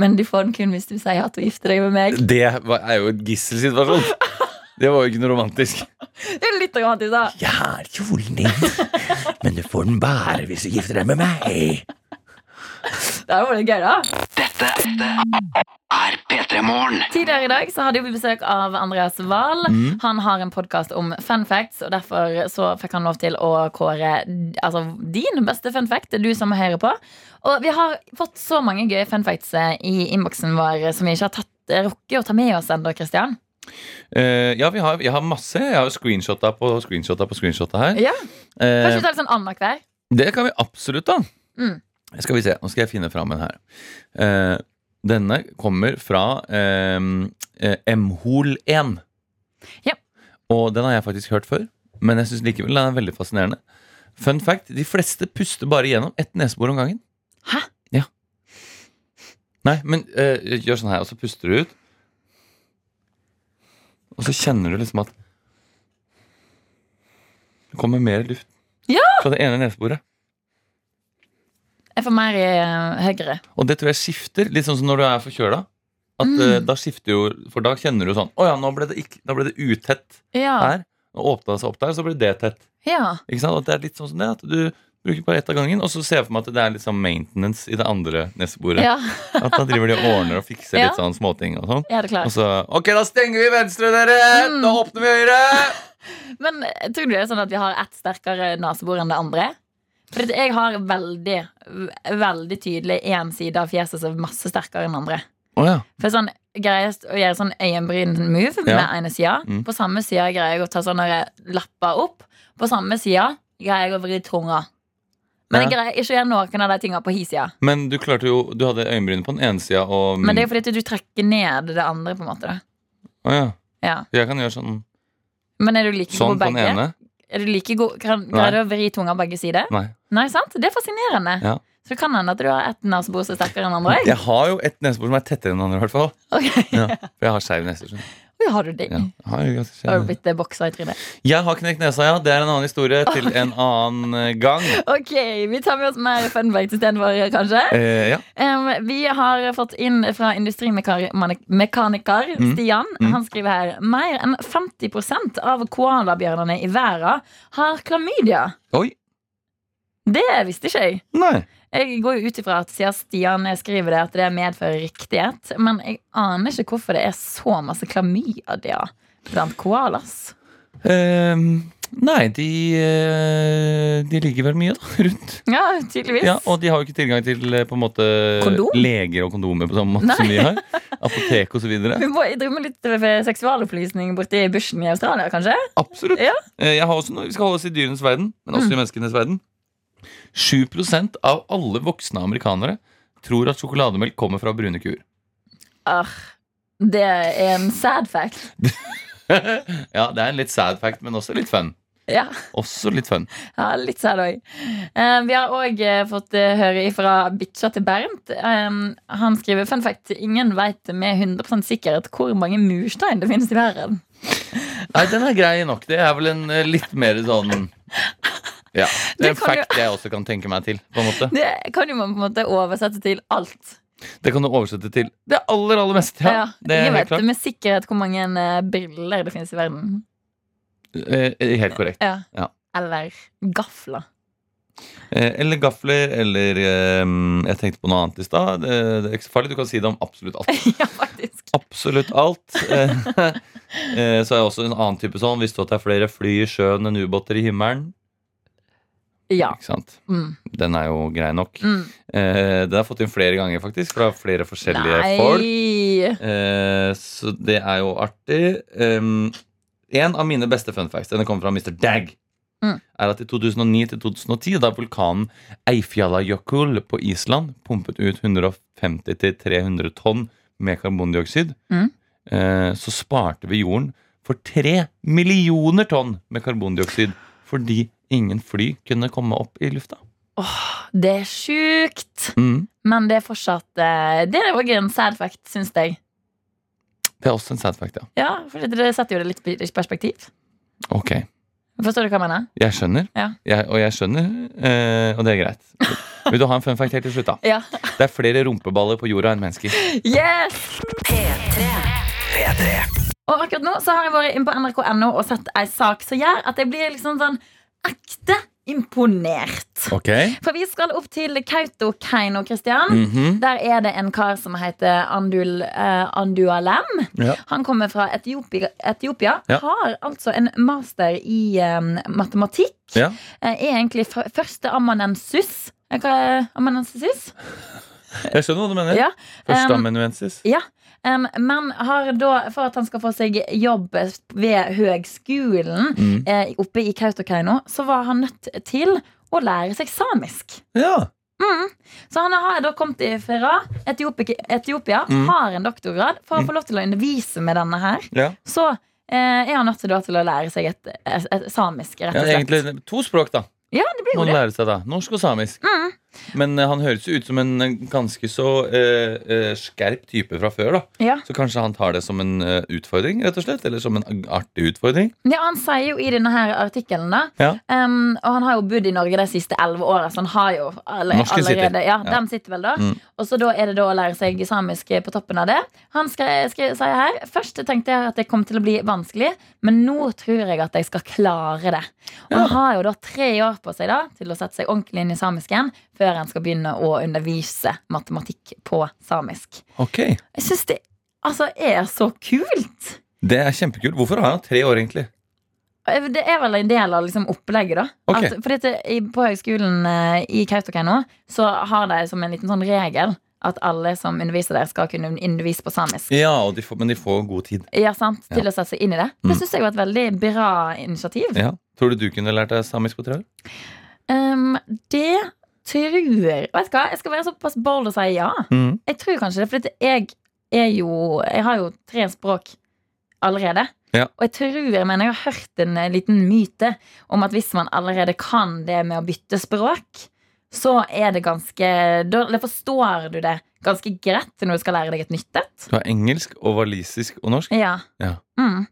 Speaker 3: men du får den kun hvis du sier at du gifter deg med meg.
Speaker 2: Det var- er jo en gisselsituasjon. Det var jo ikke noe romantisk.
Speaker 3: Det er jo litt romantisk, da.
Speaker 15: Jeg har kjolen din, men du får den bare hvis du gifter deg med meg.
Speaker 3: Det er jo veldig gøy, da.
Speaker 13: Dette er P3 Morgen.
Speaker 3: Tidligere i dag så hadde vi besøk av Andreas Wahl.
Speaker 2: Mm.
Speaker 13: Mhm.
Speaker 3: Han har en podkast om fun facts, og derfor så fikk han lov til å kåre altså, din beste fun fact. Det er Du som hører på. Og vi har fått så mange gøye fun facts eh, i innboksen vår som vi ikke har tatt eh, rukket å ta med oss ennå, Christian.
Speaker 2: Eh, ja, vi har, jeg har masse. Jeg har jo screenshotta på screenshotta på screenshotta her.
Speaker 3: Ja. Kanskje
Speaker 2: Eh,
Speaker 3: vi tar litt sånn annenhver?
Speaker 2: det kan vi absolutt, da.
Speaker 3: Mm.
Speaker 2: Skal vi se, Nå skal jeg finne fram en her. Eh, denne kommer fra eh, eh, Mhol1.
Speaker 3: Ja.
Speaker 2: Og den har jeg faktisk hørt før, men jeg syns likevel den er veldig fascinerende. Fun fact, de fleste puster bare gjennom ett nesebor om gangen.
Speaker 3: Hæ?
Speaker 2: Ja. Nei, men eh, gjør sånn her, og så puster du ut. Og så kjenner du liksom at det kommer mer luft
Speaker 3: Ja!
Speaker 2: fra det ene neseboret.
Speaker 3: Jeg får mer i eh, høyre.
Speaker 2: Og det tror jeg skifter, litt sånn som når du er forkjøla. At
Speaker 3: Mm.
Speaker 2: eh, da skifter jo For da kjenner du sånn Å ja, nå ble det, ikke, da ble det utett
Speaker 3: Ja.
Speaker 2: her. Og åpna seg opp der, så ble det tett.
Speaker 3: Ja.
Speaker 2: Ikke sant? At det er litt sånn som det, at du bruker bare ett av gangen. Og så ser jeg for meg at det er litt sånn maintenance i det andre neseboret.
Speaker 3: Ja.
Speaker 2: at da driver de og ordner og fikser
Speaker 3: Ja.
Speaker 2: litt sånn småting og sånn.
Speaker 3: Ja, det er klart.
Speaker 2: Og så Ok, da stenger vi venstre, dere!
Speaker 3: Mm.
Speaker 2: Nå åpner vi høyre!
Speaker 3: Men eh, tror du det er sånn at vi har ett sterkere nesebor enn det andre? For at jeg har veldig, v- veldig tydelig én side av fjeset som er masse sterkere enn andre.
Speaker 2: Å ja.
Speaker 3: For sånn, greier jeg å gjøre sånn øyenbryn-move med
Speaker 2: Ja.
Speaker 3: ene sida.
Speaker 2: Mm.
Speaker 3: På samme sida greier jeg å ta sånne lapper opp. På samme sida greier jeg å vri tunga. Men
Speaker 2: Ja.
Speaker 3: jeg greier ikke å gjøre noen av de tinga på hi sida.
Speaker 2: Men du klarte jo Du hadde øyenbrynene på den ene sida og
Speaker 3: Men det er jo fordi at du trekker ned det andre, på en måte. Da.
Speaker 2: Å ja.
Speaker 3: Ja.
Speaker 2: Jeg kan gjøre sånn
Speaker 3: Men er du like
Speaker 2: Sånn
Speaker 3: god på
Speaker 2: på den
Speaker 3: begge?
Speaker 2: ene?
Speaker 3: Er du like god, kan, greier du å vri tunga begge sider?
Speaker 2: Nei.
Speaker 3: Nei, sant? Det er fascinerende.
Speaker 2: Ja.
Speaker 3: Så det kan hende at du har ett nesebor som er sterkere enn andre.
Speaker 2: Jeg har jo et nesebor som er tettere enn andre, i hvert fall. Ja, for jeg har skeiv nese. skjønner du.
Speaker 3: Oi, har du det?
Speaker 2: Ja, jeg har jo ganske skeiv
Speaker 3: Har du
Speaker 2: nese.
Speaker 3: blitt eh, boksa i trynet?
Speaker 2: Jeg har knekt nesa, ja. Det er en annen historie til en annen eh, gang.
Speaker 3: Ok, vi tar med oss mer fun facts istedenfor, kanskje.
Speaker 2: Eh, ja.
Speaker 3: Em, vi har fått inn fra industrimekaniker
Speaker 2: Mm.
Speaker 3: Stian.
Speaker 2: Mm.
Speaker 3: Han skriver her mer enn 50 av koalabjørnene i verden har klamydia.
Speaker 2: Oi.
Speaker 3: Det visste ikke jeg.
Speaker 2: Nei.
Speaker 3: Jeg går jo ut ifra at siden Stian skriver det, at det medfører riktighet. Men jeg aner ikke hvorfor det er så masse klamydia blant koalas.
Speaker 2: Eh, nei, de eh, De ligger vel mye, da, rundt.
Speaker 3: Ja, tydeligvis.
Speaker 2: Ja, og de har jo ikke tilgang til eh, på en måte
Speaker 3: Kondom?
Speaker 2: leger og kondomer på samme måte
Speaker 3: Nei.
Speaker 2: som vi har. Apotek osv.
Speaker 3: Vi må drive med litt eh, seksualopplysning borti bushen i Australia, kanskje?
Speaker 2: Absolutt.
Speaker 3: Ja. Mm.
Speaker 2: Eh, Jeg har også noe, vi skal holde oss i dyrenes verden, men også i menneskenes verden. 7 av alle voksne amerikanere tror at sjokolademelk kommer fra brune kuer.
Speaker 3: Ah, det er en sad fact.
Speaker 2: ja, det er en litt sad fact, men også litt fun.
Speaker 3: Ja.
Speaker 2: Også litt fun.
Speaker 3: Ja, litt sånn òg. vi har òg fått eh, høre ifra bikkja til Bernt. Em, han skriver fun fact ingen veit med 100 sikkerhet hvor mange murstein det finnes i verden.
Speaker 2: Nei, den er grei nok. Det er vel en eh, litt mer sånn Ja. Det er
Speaker 3: Det kan
Speaker 2: en
Speaker 3: jo-
Speaker 2: fact jeg også kan tenke meg til. på en måte
Speaker 3: Det kan jo man på en måte oversette til alt.
Speaker 2: Det kan du oversette til det aller, aller meste. Ja,
Speaker 3: Ja,
Speaker 2: det er
Speaker 3: ingen
Speaker 2: helt
Speaker 3: vet
Speaker 2: klart.
Speaker 3: med sikkerhet hvor mange eh, briller det finnes i verden.
Speaker 2: Eh, Helt korrekt.
Speaker 3: Ja.
Speaker 2: Ja.
Speaker 3: Eller gafler.
Speaker 2: Eh, Eller gafler, eller eh, Jeg tenkte på noe annet i stad. Det, det er ikke så farlig. Du kan si det om absolutt alt. Absolutt alt. Eh, eh, Så er det også en annen type sånn. Visste du at det er flere fly i sjøen enn ubåter i himmelen?
Speaker 3: Ja.
Speaker 2: Ikke sant?
Speaker 3: Mm.
Speaker 2: Den er jo grei nok.
Speaker 3: Mm.
Speaker 2: Eh, Den har jeg fått inn flere ganger, faktisk, fra flere forskjellige
Speaker 3: Nei.
Speaker 2: folk. Eh, Så det er jo artig. Um, en av mine beste fun facts, denne kommer fra Mr. Dag,
Speaker 3: Mm.
Speaker 2: er at i 2009 til 2010, da vulkanen Eifjallajökull på Island pumpet ut 150 til 300 tonn med karbondioksid,
Speaker 3: Mm.
Speaker 2: eh, så sparte vi jorden for 3 millioner tonn med karbondioksid fordi ingen fly kunne komme opp i lufta.
Speaker 3: Det er sjukt, men det er fortsatt eh, Det er òg en sad fact, syns jeg.
Speaker 2: Det er også en sad fact, ja.
Speaker 3: Ja, for det, det setter jo det litt i perspektiv.
Speaker 2: Ok,
Speaker 3: Forstår du hva jeg mener?
Speaker 2: jeg skjønner.
Speaker 3: Ja.
Speaker 2: Jeg, og jeg skjønner, eh, og det er greit. Vil du ha en fun fact helt til slutt, da?
Speaker 3: Ja.
Speaker 2: Det er flere rumpeballer på jorda enn mennesker.
Speaker 3: Yes! Og akkurat nå så har jeg vært inn på nrk.no og sett ei sak som gjør at jeg blir liksom sånn ekte imponert.
Speaker 2: Ok
Speaker 3: For vi skal opp til Kautokeino, Kristian.
Speaker 2: Mhm.
Speaker 3: Der er det en kar som heter Andul, eh, Andualem.
Speaker 2: Ja.
Speaker 3: Han kommer fra Etiopia. Etiopia
Speaker 2: Ja.
Speaker 3: Har altså en master i eh, matematikk.
Speaker 2: Ja.
Speaker 3: Eh, er egentlig f første amanuensis. Eh, hva er Amanuensis?
Speaker 2: Jeg skjønner hva du mener.
Speaker 3: Ja, um,
Speaker 2: Førsteamanuensis.
Speaker 3: Ja, em, men har da, for at han skal få seg jobb ved høgskolen
Speaker 2: Mm.
Speaker 3: eh, oppe i Kautokeino, så var han nødt til å lære seg samisk.
Speaker 2: Ja.
Speaker 3: Mm. Så han har da kommet fra Etiopia, Etiopia
Speaker 2: Mm.
Speaker 3: har en doktorgrad. For å få lov til å undervise med denne her,
Speaker 2: Ja.
Speaker 3: så eh, er han nødt til, da, til å lære seg et, et, et samisk, rett
Speaker 2: ja,
Speaker 3: og slett.
Speaker 2: egentlig to språk, da.
Speaker 3: Ja, det blir
Speaker 2: Må
Speaker 3: jo
Speaker 2: han
Speaker 3: det.
Speaker 2: lære seg da Norsk og samisk.
Speaker 3: Mm.
Speaker 2: Men eh, han høres jo ut som en eh, ganske så eh, eh, skerp type fra før. da
Speaker 3: Ja.
Speaker 2: Så kanskje han tar det som en eh, utfordring, rett og slett? Eller som en artig utfordring?
Speaker 3: Ja, han sier jo i denne her artikkelen da
Speaker 2: Ja.
Speaker 3: em, Og han har jo bodd i Norge de siste 11 årene Så han har jo alle,
Speaker 16: Norsken sitter.
Speaker 3: allerede ja,
Speaker 16: Ja.
Speaker 3: Den sitter vel da
Speaker 16: Mm.
Speaker 3: Og så da er det da å lære seg samisk på toppen av det Han skre- skre- sier her Først tenkte jeg at det kom til å bli vanskelig Men nå tror jeg at jeg skal klare det Og han har jo da tre år på seg da Til å sette seg ordentlig inn i samisken Før han skal begynne å undervise matematikk på samisk
Speaker 2: Ok
Speaker 3: Jeg synes det altså, er så kult
Speaker 2: Det er kjempekult. Hvorfor har han tre år, egentlig?
Speaker 3: Eh, Det er vel en del av liksom opplegget, da.
Speaker 2: Ok.
Speaker 3: At, for dette, i- på høgskolen eh, i Kautokeino så har de som en liten sånn regel at alle som underviser der, skal kunne undervise på samisk.
Speaker 2: Ja, og de får, Men de får god tid.
Speaker 3: Ja, sant? Til
Speaker 2: Ja.
Speaker 3: å sette seg inn i det.
Speaker 2: Mm.
Speaker 3: Det syns jeg var et veldig bra initiativ.
Speaker 2: Ja. Tror du du kunne lært deg samisk på tre år?
Speaker 3: Ehm, det tror jeg Vet du hva, jeg skal være såpass bold og si ja.
Speaker 2: Mhm.
Speaker 3: Jeg tror kanskje det, for dette- jeg er jo Jeg har jo tre språk allerede.
Speaker 2: Ja.
Speaker 3: Og jeg tror jeg mener jeg har hørt en eh, liten myte om at hvis man allerede kan det med å bytte språk, så er det ganske Da eller forstår du det ganske greit når du skal lære deg et nytt et.
Speaker 2: Du har engelsk og walisisk og norsk?
Speaker 3: Ja.
Speaker 2: Ja.
Speaker 3: Mm.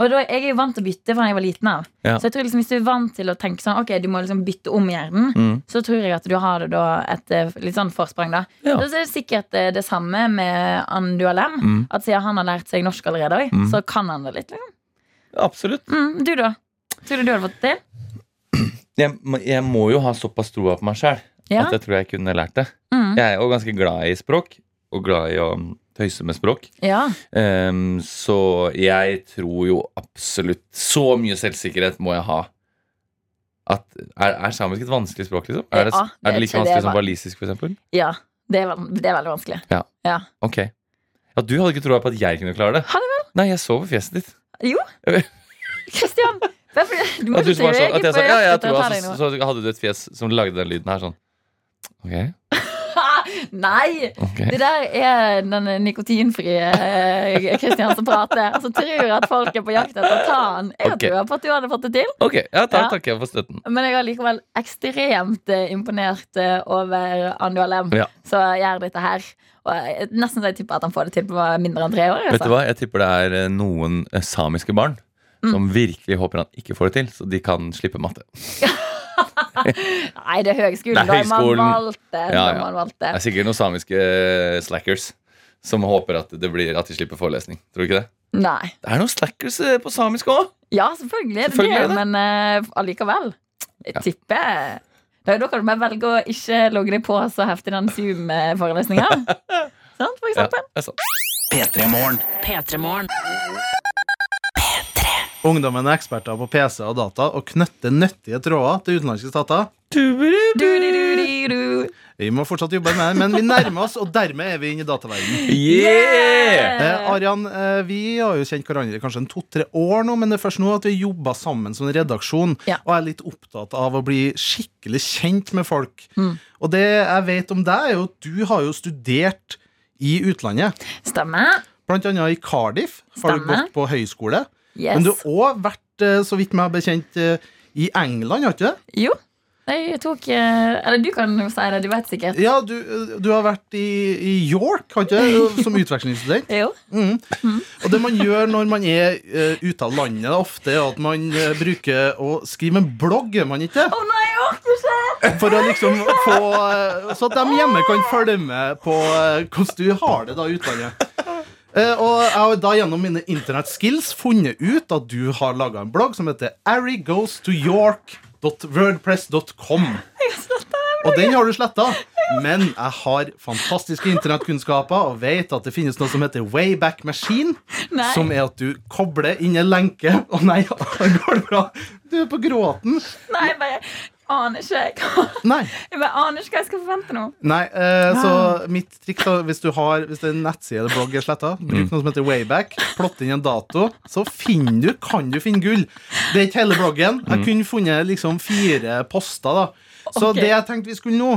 Speaker 3: Og da, Jeg er jo vant til å bytte fra jeg var liten. av
Speaker 2: Ja.
Speaker 3: Så jeg tror liksom Hvis du er vant til å tenke sånn Ok, du må liksom bytte om hjernen,
Speaker 2: Mm.
Speaker 3: så tror jeg at du har det da et eh, litt sånn forsprang. da
Speaker 2: Ja.
Speaker 3: Så er det sikkert eh, det samme med Andualem.
Speaker 2: Mm.
Speaker 3: At siden han har lært seg norsk allerede, også,
Speaker 2: Mm.
Speaker 3: så kan han det litt. liksom
Speaker 2: Absolutt.
Speaker 3: mm, Du, da? Tror du du hadde fått det til?
Speaker 2: jeg, må- jeg må jo ha såpass troa på meg sjæl
Speaker 3: Ja.
Speaker 2: at jeg tror jeg kunne lært det.
Speaker 3: Mm.
Speaker 2: Jeg er jo ganske glad i språk, og glad i å tøyse med språk.
Speaker 3: Ja.
Speaker 2: Ehm, så jeg tror jo absolutt Så mye selvsikkerhet må jeg ha. At, er, er samisk et vanskelig språk, liksom? Er det,
Speaker 3: Ja,
Speaker 2: er det
Speaker 3: det
Speaker 2: like
Speaker 3: tror jeg
Speaker 2: vanskelig
Speaker 3: det
Speaker 2: som
Speaker 3: var.
Speaker 2: walisisk, for eksempel?
Speaker 3: Ja, det er, vel- det er veldig vanskelig.
Speaker 2: Ja.
Speaker 3: Ja.
Speaker 2: Ok. Ja, du hadde ikke troa på at jeg kunne klare det?
Speaker 3: Hadde vel?
Speaker 2: Nei, jeg så på fjeset ditt.
Speaker 3: Jo, Kristian! hvorfor- Du må
Speaker 2: At du
Speaker 3: ikke
Speaker 2: som var
Speaker 3: si
Speaker 2: sånn, at jeg sa ja, jeg tror
Speaker 3: tar
Speaker 2: altså,
Speaker 3: deg nå.
Speaker 2: så, så hadde du et fjes som lagde den lyden her sånn. Ok.
Speaker 3: Nei! Det der er den nikotinfrie eh, Kristian som prater. Som tror at folk er på jakt etter å ta den. Jeg
Speaker 9: Ok.
Speaker 3: tror på at du hadde fått det til.
Speaker 9: Ok, ja, da
Speaker 3: Ja.
Speaker 9: takker jeg for støtten.
Speaker 3: Men jeg er likevel ekstremt eh, imponert eh, over Andu Alem,
Speaker 2: Ja.
Speaker 3: som gjør dette her. Og jeg, nesten så jeg tipper at han får det til på mindre enn tre år.
Speaker 9: Vet
Speaker 3: altså.
Speaker 9: du hva, Jeg tipper det er eh, noen eh, samiske barn
Speaker 3: Mm.
Speaker 9: som virkelig håper han ikke får det til, så de kan slippe matte.
Speaker 3: Nei, det er høgskolen.
Speaker 9: Det er høgskolen.
Speaker 3: Da har man valgt det.
Speaker 9: Ja,
Speaker 3: da har
Speaker 9: ja.
Speaker 3: Man valgt
Speaker 9: Det
Speaker 3: det.
Speaker 9: er sikkert noen samiske eh, slackers som håper at, det blir, at de slipper forelesning. Tror du ikke det?
Speaker 3: Nei.
Speaker 9: Det er noen slackers eh, på samisk òg!
Speaker 3: Ja, selvfølgelig er det
Speaker 9: Selvfølgelig er
Speaker 3: det,
Speaker 9: det.
Speaker 3: men eh, allikevel. Jeg tipper Da da kan du bare velge å ikke logge deg på så heftig den Zoom-forelesninga. Sant, for eksempel?
Speaker 4: P3-morgen.
Speaker 13: Ungdommen er eksperter på PC og data og knytter nyttige tråder til utenlandske stater. Vi må fortsatt jobbe med det, men vi nærmer oss, og dermed er vi inne i dataverdenen.
Speaker 9: Yeah!
Speaker 13: Eh, Arian, eh, vi har jo kjent hverandre i kanskje en to-tre år nå, men det er først nå at vi jobber sammen som en redaksjon, og er litt opptatt av å bli skikkelig kjent med folk. Og det jeg vet om deg, er jo at du har jo studert i utlandet.
Speaker 3: Stemmer.
Speaker 13: Blant annet i Cardiff har du
Speaker 3: Stemmer.
Speaker 13: gått på høyskole.
Speaker 3: Yes.
Speaker 13: Men du har òg vært, eh, så vidt meg bekjent, eh, i England, har du ikke det?
Speaker 3: Jo. Nei, jeg tok eh, Eller du kan jo si det, du vet sikkert.
Speaker 13: Ja, du, du har vært i, i York, har du ikke det? Som utvekslingsstudent.
Speaker 3: Jo.
Speaker 13: Mm. Og det man gjør når man er eh, ute av landet, da, ofte er at man eh, bruker å skrive en blogg, gjør man ikke?
Speaker 3: Å nei, jeg orker ikke!
Speaker 13: For å liksom få eh, Så at de hjemme kan følge med på eh, hvordan du har det da i utlandet. Eh, Og jeg har da gjennom mine internettskills funnet ut at du har laga en blogg som heter arrygoestoyork.wordpress.com. Og den har du sletta. Men jeg har fantastiske internettkunnskaper og vet at det finnes noe som heter Wayback Machine.
Speaker 17: Nei.
Speaker 13: Som er at du kobler inn en lenke Å nei, går det bra? Du er på gråten.
Speaker 3: Nei, jeg bare aner ikke. Jeg kan-
Speaker 13: Nei.
Speaker 3: Jeg bare aner ikke hva jeg skal forvente nå.
Speaker 13: Nei, eh, så mitt trikk da Hvis, du har, hvis det er en nettside eller blogg er sletta, bruk noe som heter Wayback. Plott inn en dato, så finner du, kan du finne gull. Det er ikke hele bloggen. Jeg
Speaker 17: Mm.
Speaker 13: kunne funnet liksom fire poster. da Så
Speaker 17: Ok.
Speaker 13: det jeg tenkte vi skulle nå,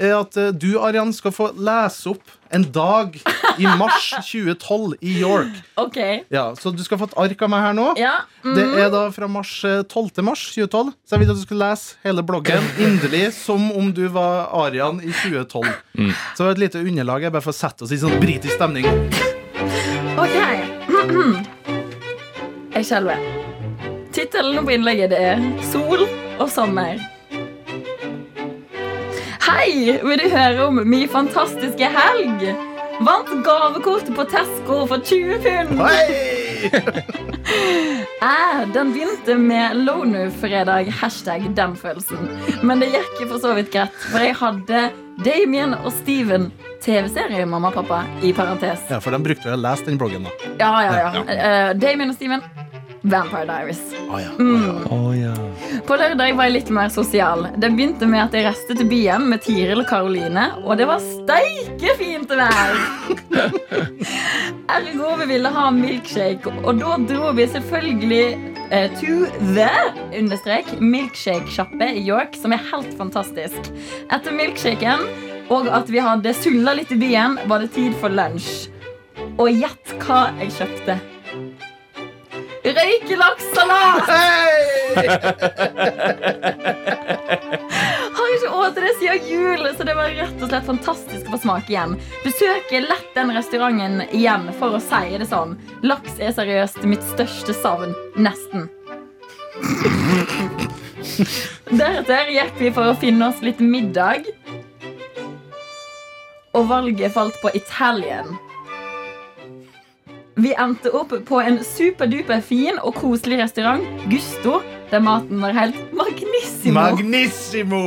Speaker 13: er at eh, du, Arian, skal få lese opp en dag i mars 2012 i York.
Speaker 3: Ok. mm.
Speaker 13: Ja, Så du skal få et ark av meg her nå. Det er da fra mars, eh, 12. til mars 2012. Så jeg vil at du skal lese hele bloggen inderlig som om du var Arian i 2012. Så et lite underlag jeg bare for å sette oss i sånn britisk stemning.
Speaker 3: Ok. Jeg skjelver. Tittelen på innlegget det er 'Sol og sommer'. Hei! Vil du høre om min fantastiske helg? Vant gavekortet på Tesco for 20 pund. Eh, den begynte med Lonu-fredag, hashtag den følelsen. Men det gikk for så vidt greit, for jeg hadde Damien og Steven, TV-serie mamma og pappa, i parentes.
Speaker 13: Ja, For de brukte å lese den bloggen, da.
Speaker 3: Ja, ja, ja.
Speaker 13: Ja.
Speaker 3: Eh, Damien og Steven. Vampire Diaries. Mm. På lørdag var jeg litt mer sosial. Det begynte med at jeg reiste til byen med Tiril og Karoline, og det var steike fint vær! Ergo vi ville ha milkshake, og da dro vi selvfølgelig eh, to the understrek milkshake-sjappe i York, som er helt fantastisk. Etter milkshaken og at vi hadde sulla litt i byen, var det tid for lunsj. Og gjett hva jeg kjøpte. Røykelakssalat! Har ikke åt det siden jul, så det var rett og slett fantastisk å få smake igjen. Besøker lett den restauranten igjen, for å si det sånn. Laks er seriøst mitt største savn. Nesten. Deretter gikk vi for å finne oss litt middag. Og valget falt på Italien. Vi endte opp på en superduper fin og koselig restaurant, Gusto, der maten var helt magnissimo.
Speaker 13: Magnissimo!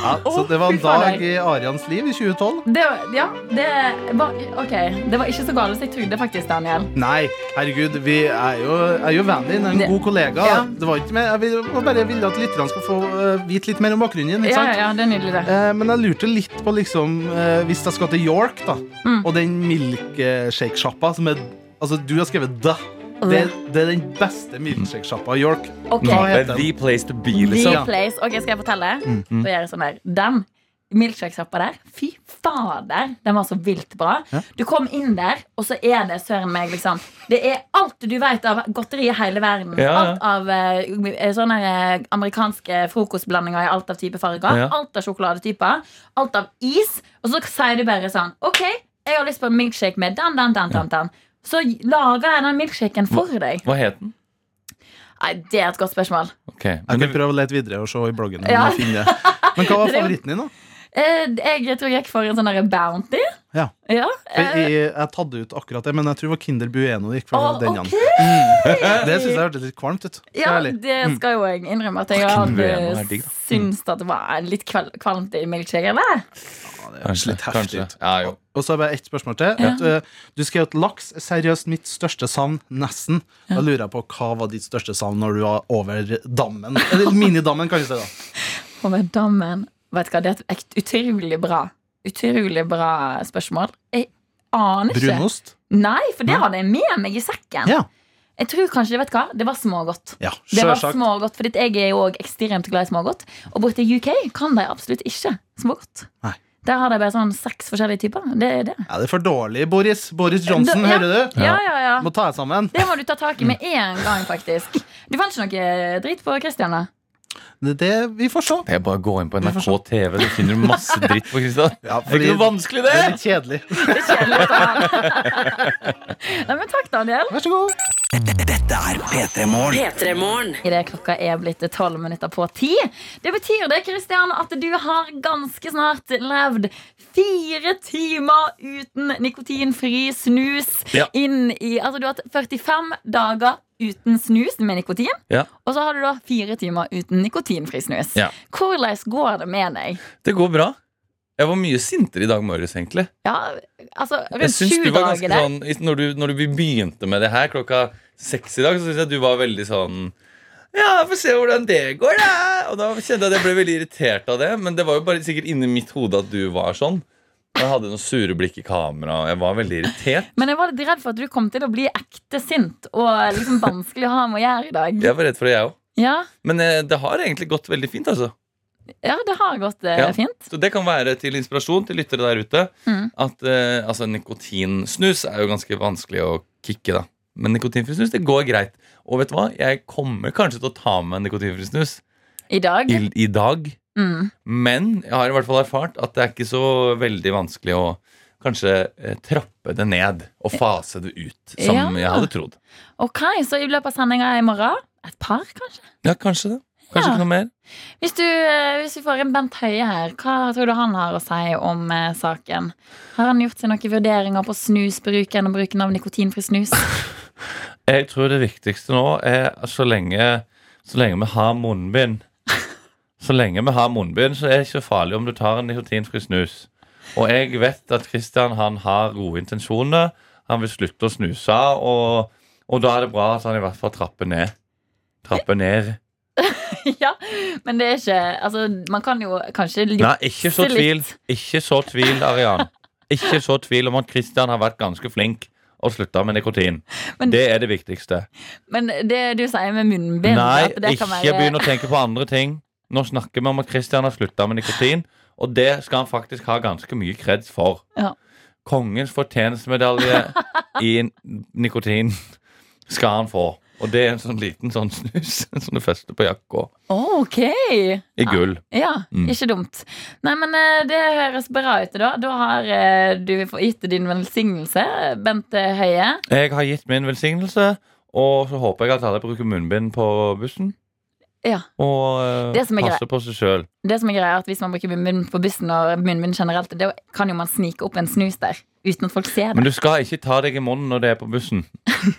Speaker 13: Ja, så det var
Speaker 3: fy
Speaker 13: en
Speaker 3: fader.
Speaker 13: dag i Arians liv i 2012.
Speaker 3: Det, var- ja, det var, ok, det var ikke så galt som jeg trodde, faktisk, Daniel.
Speaker 13: Nei, herregud, vi er jo, er jo vennen din. En
Speaker 3: Det-
Speaker 13: god kollega.
Speaker 3: Ja.
Speaker 13: Det var ikke mer, jeg vil, jeg bare ville at lytterne skal få eh, vite litt mer om bakgrunnen din. Ikke
Speaker 3: Ja,
Speaker 13: sant?
Speaker 3: ja, det er nydelig, det.
Speaker 13: Eh, men jeg lurte litt på liksom eh, Hvis jeg skal til York, da,
Speaker 3: Mm.
Speaker 13: og den milkshake-sjappa som er Altså, du har skrevet 'da'. Det, det er den beste milkshake-sjappa i York.
Speaker 3: Mm. Ok.
Speaker 13: Hva
Speaker 9: Det
Speaker 13: heter
Speaker 9: er
Speaker 13: den?
Speaker 9: the place to be,
Speaker 3: The
Speaker 9: liksom.
Speaker 3: place. Ok, Skal jeg fortelle?
Speaker 9: Mm.
Speaker 3: Da gjør jeg sånn der. Den milkshakesjappa der. Fy fader, den var så vilt bra.
Speaker 18: Ja.
Speaker 3: Du kom inn der, og så er det søren meg, liksom. Det er alt du vet av godteri i hele verden.
Speaker 18: Ja, ja.
Speaker 3: Alt av eh, sånne eh, amerikanske frokostblandinger i alt av type farger.
Speaker 18: Ja.
Speaker 3: Alt av sjokoladetyper. Alt av is. Og så sier du bare sånn OK, jeg har lyst på en milkshake med den, den, den, den. den. Så lager jeg den milkshaken for deg.
Speaker 19: Hva het den?
Speaker 3: Nei, det er et godt spørsmål.
Speaker 6: jeg kan prøve å lete videre og se i bloggen. om
Speaker 3: Ja.
Speaker 6: jeg finner det. Men hva var
Speaker 3: Det er jo-
Speaker 6: favoritten din, da?
Speaker 3: Eh, Jeg tror jeg gikk for en sånn der Bounty.
Speaker 6: Ja.
Speaker 3: Ja. eh,
Speaker 6: For jeg, jeg tatte ut akkurat det, men jeg tror det var Kinder Bueno. det Gikk for
Speaker 3: Å,
Speaker 6: den
Speaker 3: ok!
Speaker 6: mm. Det syns jeg hørtes litt kvalmt ut. skal jeg
Speaker 3: Ja,
Speaker 6: være ærlig.
Speaker 3: det
Speaker 6: Mm.
Speaker 3: skal jo jeg innrømme at jeg
Speaker 6: Fucking Veno er
Speaker 3: hadde
Speaker 6: digg, da. Mm.
Speaker 3: syntes at det var litt kval kvalmt i milkshake. Eller?
Speaker 6: Kanskje litt heftig ut.
Speaker 19: Ja, jo.
Speaker 6: Og så har jeg bare ett spørsmål til.
Speaker 3: Ja.
Speaker 6: Eh, Du skrev at laks er seriøst mitt største savn. Nesten. Da lurer jeg på hva var ditt største savn når du var over dammen? Eller minidammen, kan vi si. da
Speaker 3: Over dammen. Vet du hva, det er et utrolig bra Utrolig bra spørsmål. Jeg aner ikke.
Speaker 6: Brunost?
Speaker 3: Nei, for det
Speaker 6: Nei.
Speaker 3: hadde jeg med meg i sekken.
Speaker 6: Ja.
Speaker 3: Jeg tror kanskje, vet du hva, det var smågodt.
Speaker 6: Ja,
Speaker 3: Det var
Speaker 6: sjølsagt.
Speaker 3: smågodt, fordi jeg er jo også ekstremt glad i smågodt. Og borte i UK kan de absolutt ikke smågodt.
Speaker 6: Nei.
Speaker 3: Der har de bare sånn seks forskjellige typer. Det er det.
Speaker 6: Ja, det er for dårlig, Boris. Boris Johnson,
Speaker 3: Da- ja.
Speaker 6: hører du?
Speaker 3: Ja, ja, ja.
Speaker 6: Må ta deg sammen. Mm.
Speaker 3: Det må du ta tak i med en gang, faktisk. Du fant ikke noe dritt på Christian, da?
Speaker 6: Det, det vi får se.
Speaker 19: Det er bare å gå inn på NRK TV, så finner du masse dritt på Kristian. det er ikke noe vanskelig, det!
Speaker 6: Det er litt kjedelig.
Speaker 3: Nei, men takk, Daniel.
Speaker 6: Vær så god.
Speaker 11: Dette er P3 Morgen.
Speaker 3: Idet klokka er blitt tolv minutter på ti. Det betyr det, Kristian, at du har ganske snart levd fire timer uten nikotinfri snus.
Speaker 18: Ja.
Speaker 3: Inn i, altså, du har hatt 45 dager uten snus med nikotin.
Speaker 19: Ja.
Speaker 3: Og så har du da fire timer uten nikotinfri snus.
Speaker 19: Ja.
Speaker 3: Hvordan går det med deg?
Speaker 19: Det går bra. Jeg var mye sintere i dag morges, egentlig.
Speaker 3: Ja, altså,
Speaker 19: Jeg
Speaker 3: rundt
Speaker 19: synes
Speaker 3: sju
Speaker 19: du var ganske
Speaker 3: dager der.
Speaker 19: sånn i- Når du, når du begynte med det her klokka seks i dag, så syns jeg du var veldig sånn Ja, få se hvordan det går, da! Og da kjente jeg at jeg ble veldig irritert av det. Men det var jo bare sikkert inni mitt hode at du var sånn. Jeg hadde noen sure blikk i kamera, og jeg var veldig irritert.
Speaker 3: Men jeg var litt redd for at du kom til å bli ekte sint og liksom vanskelig å ha med å gjøre i dag.
Speaker 19: Jeg var redd for det, jeg òg.
Speaker 3: Ja,
Speaker 19: Men eh, det har egentlig gått veldig fint, altså.
Speaker 3: ja det har gått eh,
Speaker 19: Ja.
Speaker 3: fint.
Speaker 19: Så det kan være til inspirasjon til lyttere der ute.
Speaker 3: Mm.
Speaker 19: At eh, altså, nikotinsnus er jo ganske vanskelig å kicke, da. Men nikotinfri snus, det går greit. Og vet du hva? Jeg kommer kanskje til å ta med nikotinfri snus
Speaker 3: I dag.
Speaker 19: i, i dag.
Speaker 3: Mm.
Speaker 19: Men jeg har i hvert fall erfart at det er ikke så veldig vanskelig å kanskje eh, trappe det ned og fase det ut, som
Speaker 3: Ja.
Speaker 19: jeg hadde trodd.
Speaker 3: Ok, så i løpet av sendinga i morgen et par, kanskje?
Speaker 19: Ja, kanskje det. Kanskje
Speaker 3: Ja.
Speaker 19: ikke noe mer.
Speaker 3: Hvis, du, eh, hvis vi får en Bent Høie her, hva tror du han har å si om eh, saken? Har han gjort seg noen vurderinger på snusbruken og bruken av nikotinfri snus?
Speaker 2: Jeg tror det viktigste nå er at så lenge, så lenge vi har munnbind Så lenge vi har munnbind, så er det ikke farlig om du tar en nikotinfri snus. Og jeg vet at Christian han har gode intensjoner. Han vil slutte å snuse, og, og da er det bra at han i hvert fall trapper ned. Trapper ned.
Speaker 3: ja, men det er ikke Altså, man kan jo kanskje
Speaker 2: Nei, ikke så
Speaker 3: jukse
Speaker 2: tvil.
Speaker 3: litt.
Speaker 2: Ikke så tvil, Arian. Ikke så tvil om at Christian har vært ganske flink og slutta med nikotin. Det er det viktigste.
Speaker 3: Men det du sier med munnbind
Speaker 2: Nei,
Speaker 3: at det
Speaker 2: ikke
Speaker 3: kan være-
Speaker 2: begynn å tenke på andre ting. Nå snakker vi om at Christian har slutta med nikotin, og det skal han faktisk ha ganske mye kreds for.
Speaker 3: Ja.
Speaker 2: Kongens fortjenestemedalje i n- nikotin skal han få. Og det er en sånn liten sånn snus som du fester på jakka.
Speaker 3: Å, Ok
Speaker 2: I gull.
Speaker 3: Ja,
Speaker 2: Mm.
Speaker 3: ikke dumt. Nei, men eh, det høres bra ut, da. Da har eh, du fått gitt din velsignelse, Bente Høie.
Speaker 2: Jeg har gitt min velsignelse, og så håper jeg at alle bruker munnbind på bussen.
Speaker 3: Ja.
Speaker 2: Og eh,
Speaker 3: Det som er greit.
Speaker 2: passer på seg sjøl.
Speaker 3: Det som er greia er at Hvis man bruker munnbind på bussen og munnbind generelt, det kan jo man snike opp en snus der. Uten at folk ser
Speaker 2: Men
Speaker 3: det.
Speaker 2: du skal ikke ta deg i munnen når det er på bussen.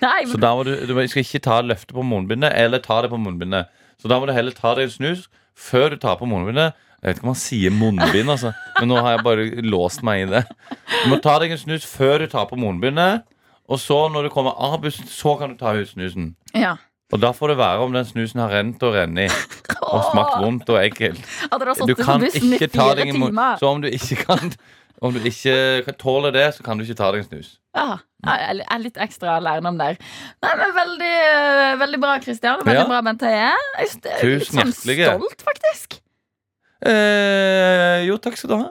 Speaker 3: Nei,
Speaker 2: Så
Speaker 3: men,
Speaker 2: da må du, du skal ikke ta løftet på munnbindet eller ta det på munnbindet. Så da må du heller ta deg en snus før du tar på munnbindet. Jeg vet ikke om han sier munnbind, altså. men nå har jeg bare låst meg i det. Du må ta deg en snus før du tar på munnbindet, og så når du kommer av bussen, så kan du ta ut snusen.
Speaker 3: ja.
Speaker 2: Og da får det være om den snusen har rent og rennet i, og smakt vondt og ekkelt.
Speaker 3: At dere har sittet
Speaker 2: Du
Speaker 3: på
Speaker 2: kan
Speaker 3: bussen i
Speaker 2: ikke ta
Speaker 3: fire
Speaker 2: deg en mun-
Speaker 3: timer.
Speaker 2: Så om du ikke kan Om du ikke kan tåle det, så kan du ikke ta deg en snus.
Speaker 3: Ja, jeg er litt ekstra lærdom der. Nei, men Veldig, eh, veldig bra, Christian. Veldig
Speaker 2: Ja.
Speaker 3: bra, Bent Høie. Jeg er litt
Speaker 2: Tusen
Speaker 3: sånn
Speaker 2: hjertelig.
Speaker 3: Stolt, faktisk.
Speaker 2: Eh, jo, takk skal du ha.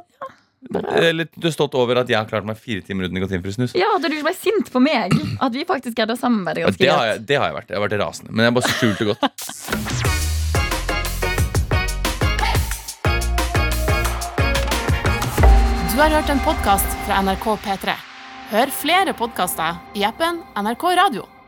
Speaker 2: Eh, Litt, du er stolt over at jeg har klart meg fire timer uten nikotinfri snus?
Speaker 20: Ja, da du ble sint på meg. At vi faktisk greide å samarbeide
Speaker 2: Ja,
Speaker 20: ganske
Speaker 2: det, har
Speaker 20: greit.
Speaker 2: jeg, det har jeg vært. Jeg har vært rasende. Men jeg bare skjulte godt.
Speaker 3: Du har hørt en podkast fra NRK P3. Hør flere podkaster i appen NRK Radio.